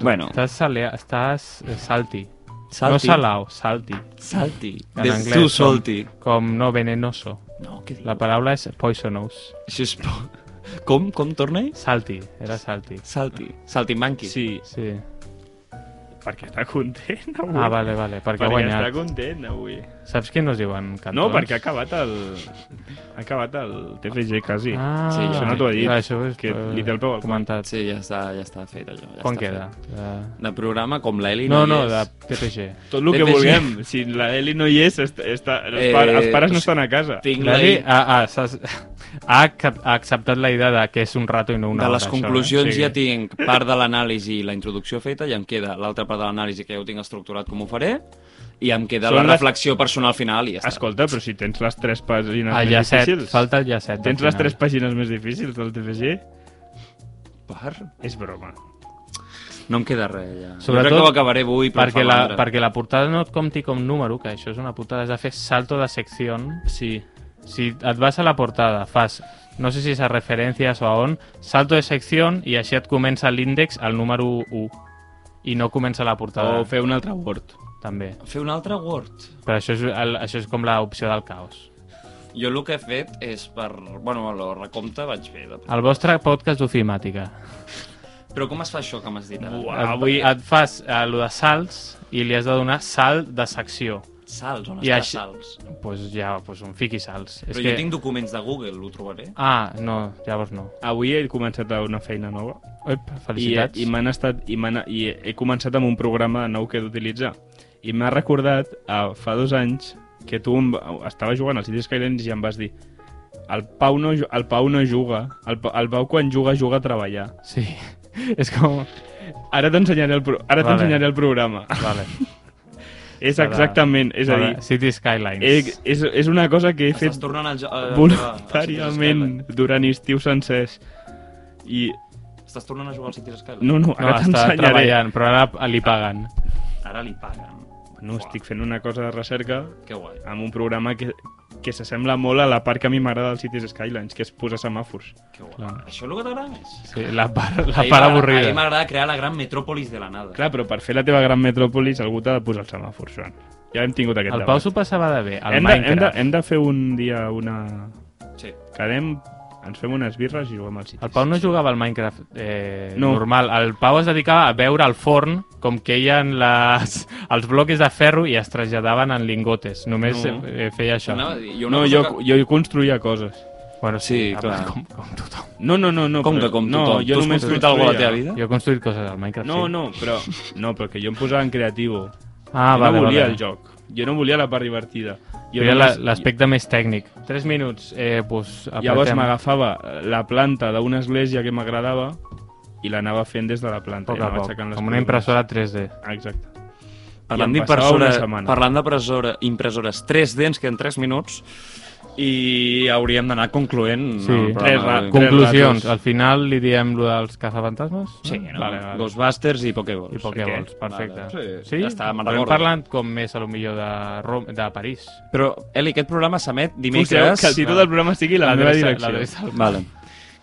S1: Bueno,
S3: Estàs, salea, estàs eh, salti. No
S1: salti.
S3: salao, salti.
S1: Salti.
S3: En
S1: De
S3: anglès,
S1: tu
S3: com-
S1: solti.
S3: Com no venenoso.
S1: No, què dius?
S3: La paraula és poisonous.
S1: Això és... po- Com? Com torna?
S3: Salti, era salti.
S1: Salti. Salti manqui.
S2: Sí,
S3: Sí.
S2: perquè està content avui.
S3: Ah, vale, vale, perquè ha
S2: perquè està
S3: guanyat.
S2: content avui.
S3: Saps què no es diuen cantons?
S2: No, perquè ha acabat el... Ha acabat el TFG, quasi.
S3: Ah,
S1: Sí, ja. Això
S2: no t'ho he dit,
S3: clar, Això és,
S2: que
S3: eh,
S2: li té el peu al
S3: comentat.
S1: Sí, ja està, ja està fet allò. Ja
S3: Com
S1: està
S3: queda?
S1: Fet.
S3: De...
S1: De programa com l'Eli
S3: No,
S1: hi
S3: no,
S1: és.
S3: de TPG.
S2: Tot el que
S1: TFG.
S2: vulguem. Si la Eli no hi és, està, està, els,
S1: Eh,
S2: pa els pares
S1: o
S2: no
S1: sigui,
S2: estan a casa.
S1: Tinc l'Eli
S3: L'Eli ha, ha, s'has- ha, accep- ha acceptat la idea de que és un rato i no una
S1: de
S3: hora.
S1: les conclusions
S3: això, eh?
S1: ja tinc part de l'anàlisi i la introducció feta i em queda l'altra part de l'anàlisi que ja ho tinc estructurat com ho faré i em queda
S2: Són
S1: la
S2: les-
S1: reflexió personal final i ja està.
S2: Escolta, però si tens les tres pàgines
S3: El
S2: més
S3: llacet,
S2: difícils...
S3: Ah, falta eh? el llacet.
S2: Tens
S3: al
S2: les
S3: final.
S2: tres pàgines més difícils del TFG?
S1: Per?
S2: És broma.
S1: No em queda res ja.
S3: Sobretot
S1: jo crec que ho acabaré avui però
S3: perquè
S1: em fa
S3: la,
S1: mandra.
S3: perquè la portada no et compti com número, que això és una putada, has de fer salto de secció.
S2: Sí.
S3: Si et vas a la portada, fas, no sé si és a referències o a on, salto de secció i així et comença l'índex al número 1. I no comença la portada,
S2: O fer un altre Word.
S3: també.
S1: Fer un altre Word.
S3: Però això és, el, això és com l'opció del caos.
S1: Jo el que he fet és per... Bueno, el recompte vaig fer. De...
S3: El vostre podcast d'ofimàtica.
S1: Però com es fa això que m'has dit ara?
S2: Buah.
S3: Et,
S2: Avui-
S3: et fas eh, lo de salts i li has de donar salt de secció.
S1: Salts, on
S3: I
S1: està
S3: així-
S1: salts?
S3: Doncs pues ja, pues un fiqui salts.
S1: Però jo tinc documents de Google, ho trobaré.
S3: Ah, no, llavors no.
S2: Avui he començat a una feina nova
S3: Ep,
S2: i,
S3: felicitats.
S2: i, m'han estat, i, m'han- i he començat amb un programa nou que he d'utilitzar. I m'ha recordat a, fa dos anys que tu em, estava jugant al City Skylines i em vas dir el Pau no, ju- el Pau no juga, el, Pa- el Pau quan juga, juga a treballar.
S3: Sí, és com...
S2: Ara t'ensenyaré el, pro, ara
S3: Vale.
S2: t'ensenyaré el programa.
S3: Vale.
S2: és
S3: Ara-
S2: exactament, és a dir,
S3: City Skylines.
S2: he, és, és una cosa que he fet
S1: Estàs tornant al... jo- a- a- a-
S2: voluntàriament durant estiu sencers. I...
S1: Estàs tornant a jugar al Cities Skyline?
S2: No, no,
S3: No,
S2: ara
S3: està
S2: t'ensenyaré.
S3: treballant, però ara li paguen.
S1: Ara li paguen.
S2: No, estic fent una cosa de recerca
S1: Que guai.
S2: amb un programa que, que s'assembla molt a la part que a mi m'agrada del Cities Skylines, que és posar semàfors.
S1: Que guai.
S3: Clar.
S1: Això és el que t'agrada més.
S3: Sí, la part, la
S1: Ahir
S3: part
S1: m'agrada-
S3: avorrida.
S1: ahir m'agrada crear la gran metròpolis de la nada.
S2: Clar, però per fer la teva gran metròpolis algú t'ha de posar el semàfor, Joan. Ja hem tingut aquest
S3: El Pau
S2: debat.
S3: s'ho passava de bé, al
S2: hem, de, hem, de,
S3: Minecraft.
S2: hem de fer un dia una...
S1: Sí.
S2: Quedem, ens fem unes birres i juguem al Cities.
S3: El Pau no jugava al Minecraft eh,
S2: No.
S3: normal. El Pau es dedicava a veure al forn com queien les, els bloques de ferro i es traslladaven en lingotes. Només
S2: No.
S3: eh, feia això.
S1: Anava a dir, i una
S2: No,
S1: cosa
S2: jo,
S1: que-
S2: jo hi construïa coses.
S3: Bueno,
S1: Sí,
S3: sí, a
S1: clar.
S3: veure, Com, com tothom.
S2: No, no, no. no
S1: Com
S2: però-
S1: que com
S2: no,
S1: tothom?
S2: Jo
S1: tu has
S2: només
S1: construït alguna cosa a la teva
S2: construïa.
S1: vida?
S3: Jo he construït coses al Minecraft,
S2: No,
S3: sí.
S2: no, però... No, però que jo em posava en creatiu.
S3: Ah,
S2: jo
S3: vale,
S2: no volia
S3: vale.
S2: el joc. Jo no volia la part divertida. Jo
S3: Era la-
S2: només-
S3: l'aspecte més tècnic. 3 minuts, eh, pues, apretem.
S2: Llavors m'agafava eh, la planta d'una església que m'agradava i l'anava fent des de la
S3: a
S2: planta.
S3: poc
S2: i
S3: a
S2: anava
S3: poc,
S2: aixecant les
S3: com una
S2: columnes.
S3: impressora 3D.
S2: Exacte.
S1: Parlant
S2: I em passava
S1: d'impressora,
S2: una setmana.
S1: parlant d'impressora, impressores 3D ens queden 3 minuts i hauríem d'anar concloent
S3: Sí.
S1: el
S2: Tres
S1: programa.
S2: ra-
S1: d'avui.
S3: Conclusions,
S2: ratos.
S3: al final li diem lo dels cazafantasmes? Ah,
S1: Sí, no?
S3: Vale, vale.
S1: Ghostbusters i Pokéballs.
S3: I Pokéballs, perfecte.
S1: Vale. Doncs Sí,
S3: Sí?
S1: ja està, me'n
S3: Podem
S1: recordo.
S3: parlar com més, a lo millor, de, Rom... de París.
S1: Però, Eli, aquest programa s'emet
S2: Fixeu
S1: dimecres...
S2: que el títol del programa sigui la, meva
S3: L'adreça-
S2: direcció.
S3: l'adreça al-
S1: Vale.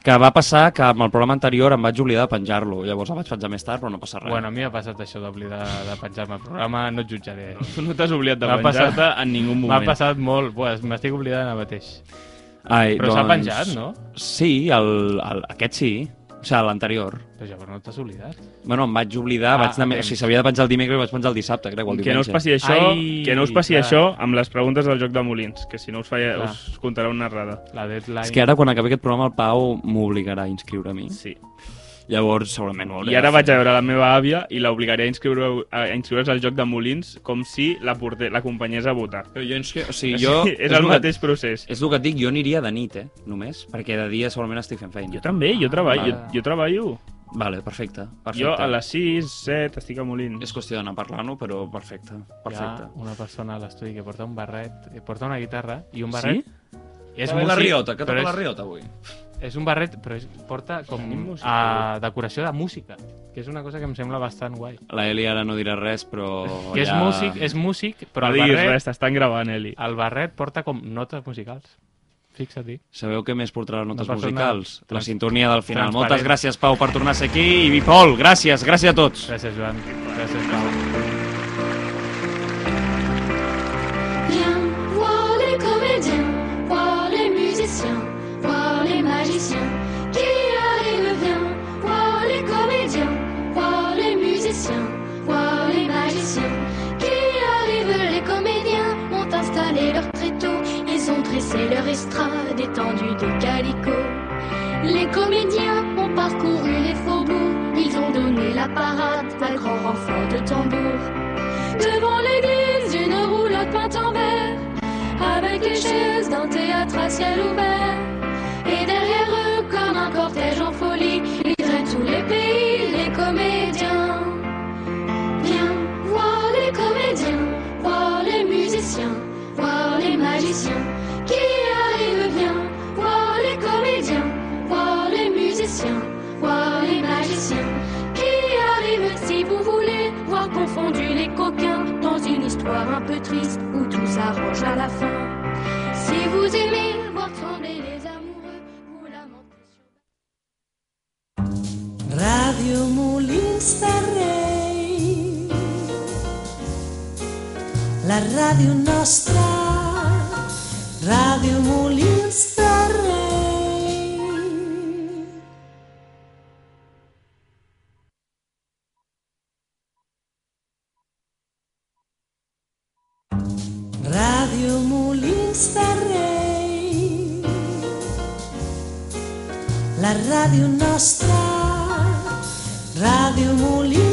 S1: que va passar que amb el programa anterior em vaig oblidar de penjar-lo, llavors el vaig penjar més tard, però no passa res.
S3: Bueno, a mi m'ha passat això d'oblidar de penjar-me al programa, no et jutjaré.
S2: No t'has oblidat de
S3: M'ha passat-
S2: penjar-te en ningú
S3: M'ha
S2: moment.
S3: passat molt, pues, m'estic oblidant ara mateix.
S1: Ai, doncs,
S3: Però s'ha penjat, no?
S1: Sí, el, el, aquest sí, o sigui, l'anterior.
S3: Però llavors no t'has oblidat.
S1: Bueno, em vaig oblidar,
S3: Ah,
S1: ah, vaig anar...
S3: ok.
S1: o sigui, s'havia de penjar el dimecres i vaig penjar el dissabte, crec, o el
S2: Que no us
S1: diumenge.
S2: passi això,
S3: Ai,
S2: que no us passi
S3: clar.
S2: això amb les preguntes del joc de Molins, que si no us falla
S3: Clar.
S2: us contarà una errada.
S3: La deadline...
S1: És que ara, quan acabi aquest programa, el Pau m'obligarà a inscriure a mi.
S2: Sí.
S1: Llavors, segurament ho hauré
S2: I ara
S1: de
S2: vaig
S1: fer.
S2: a veure la meva àvia i l'obligaré a inscriure a inscriure's al joc de Molins com si la porté, l'acompanyés a votar.
S1: Però jo, inscri... o sigui, jo...
S2: Sí, és el
S1: lo
S2: mateix procés.
S1: Que... És el que et dic, jo aniria de nit, eh, només, perquè de dia segurament estic fent feina.
S2: Jo també, jo treballo, jo,
S3: vale.
S2: jo treballo.
S1: Vale, perfecte, perfecte.
S2: Jo a les 6, 7 estic a Molins.
S1: És qüestió d'anar parlant-ho, però perfecte,
S3: Hi ha
S1: perfecte.
S3: una persona a l'estudi que porta un barret, eh, porta una guitarra i un
S1: Sí?
S3: barret...
S1: És
S3: És
S1: la
S3: músic,
S1: riota, que
S3: però
S1: toca la
S3: és-
S1: riota avui.
S3: És un barret, però és, porta com
S2: Tenim música,
S3: a decoració de música, que és una cosa que em sembla bastant guai.
S1: La Eli ara no dirà res, però...
S3: Que és
S1: Oh, ja-
S3: músic, és músic,
S2: No
S3: però el
S2: diguis
S3: barret,
S2: res, t'estan gravant, Eli.
S3: el barret porta com notes musicals. Fixa't-hi.
S1: Sabeu què més portarà les notes
S3: Una persona
S1: musicals? La
S3: trans-
S1: sintonia del final.
S3: transparent.
S1: Moltes gràcies, Pau, per tornar a ser aquí. I Pol, gràcies, gràcies a tots.
S3: Gràcies, Joan. Gràcies, Pau.
S4: Viens voir les comédiens, voir les musiciens, voir les magiciens qui arrivent. Viens voir les comédiens, voir les musiciens, voir les magiciens qui arrivent. Les comédiens ont installé leur tréteau, ils ont dressé leur estrade étendue de calicot. Les comédiens ont parcouru les faubourgs, ils ont donné la parade à grand renfort de tambour. Devant l'église, une roulotte peinte en vert, avec les chaises d'un théâtre à ciel ouvert. Et derrière eux, comme un cortège en folie, ils traînent tous les pays, les comédiens. Viens voir les comédiens, voir les musiciens, voir les magiciens qui arrivent. Viens voir les comédiens, voir les musiciens, voir les magiciens qui arrivent. Si vous voulez voir confondu les coquins dans une histoire un peu triste où tout s'arrange à la fin. Si vous aimez voir trembler les amoureux, vous lamentez sur...
S5: Radio Molins de Rei La ràdio nostra Ràdio Molins de Rei Ràdio Molins de Rei la ràdio nostra, Ràdio Molí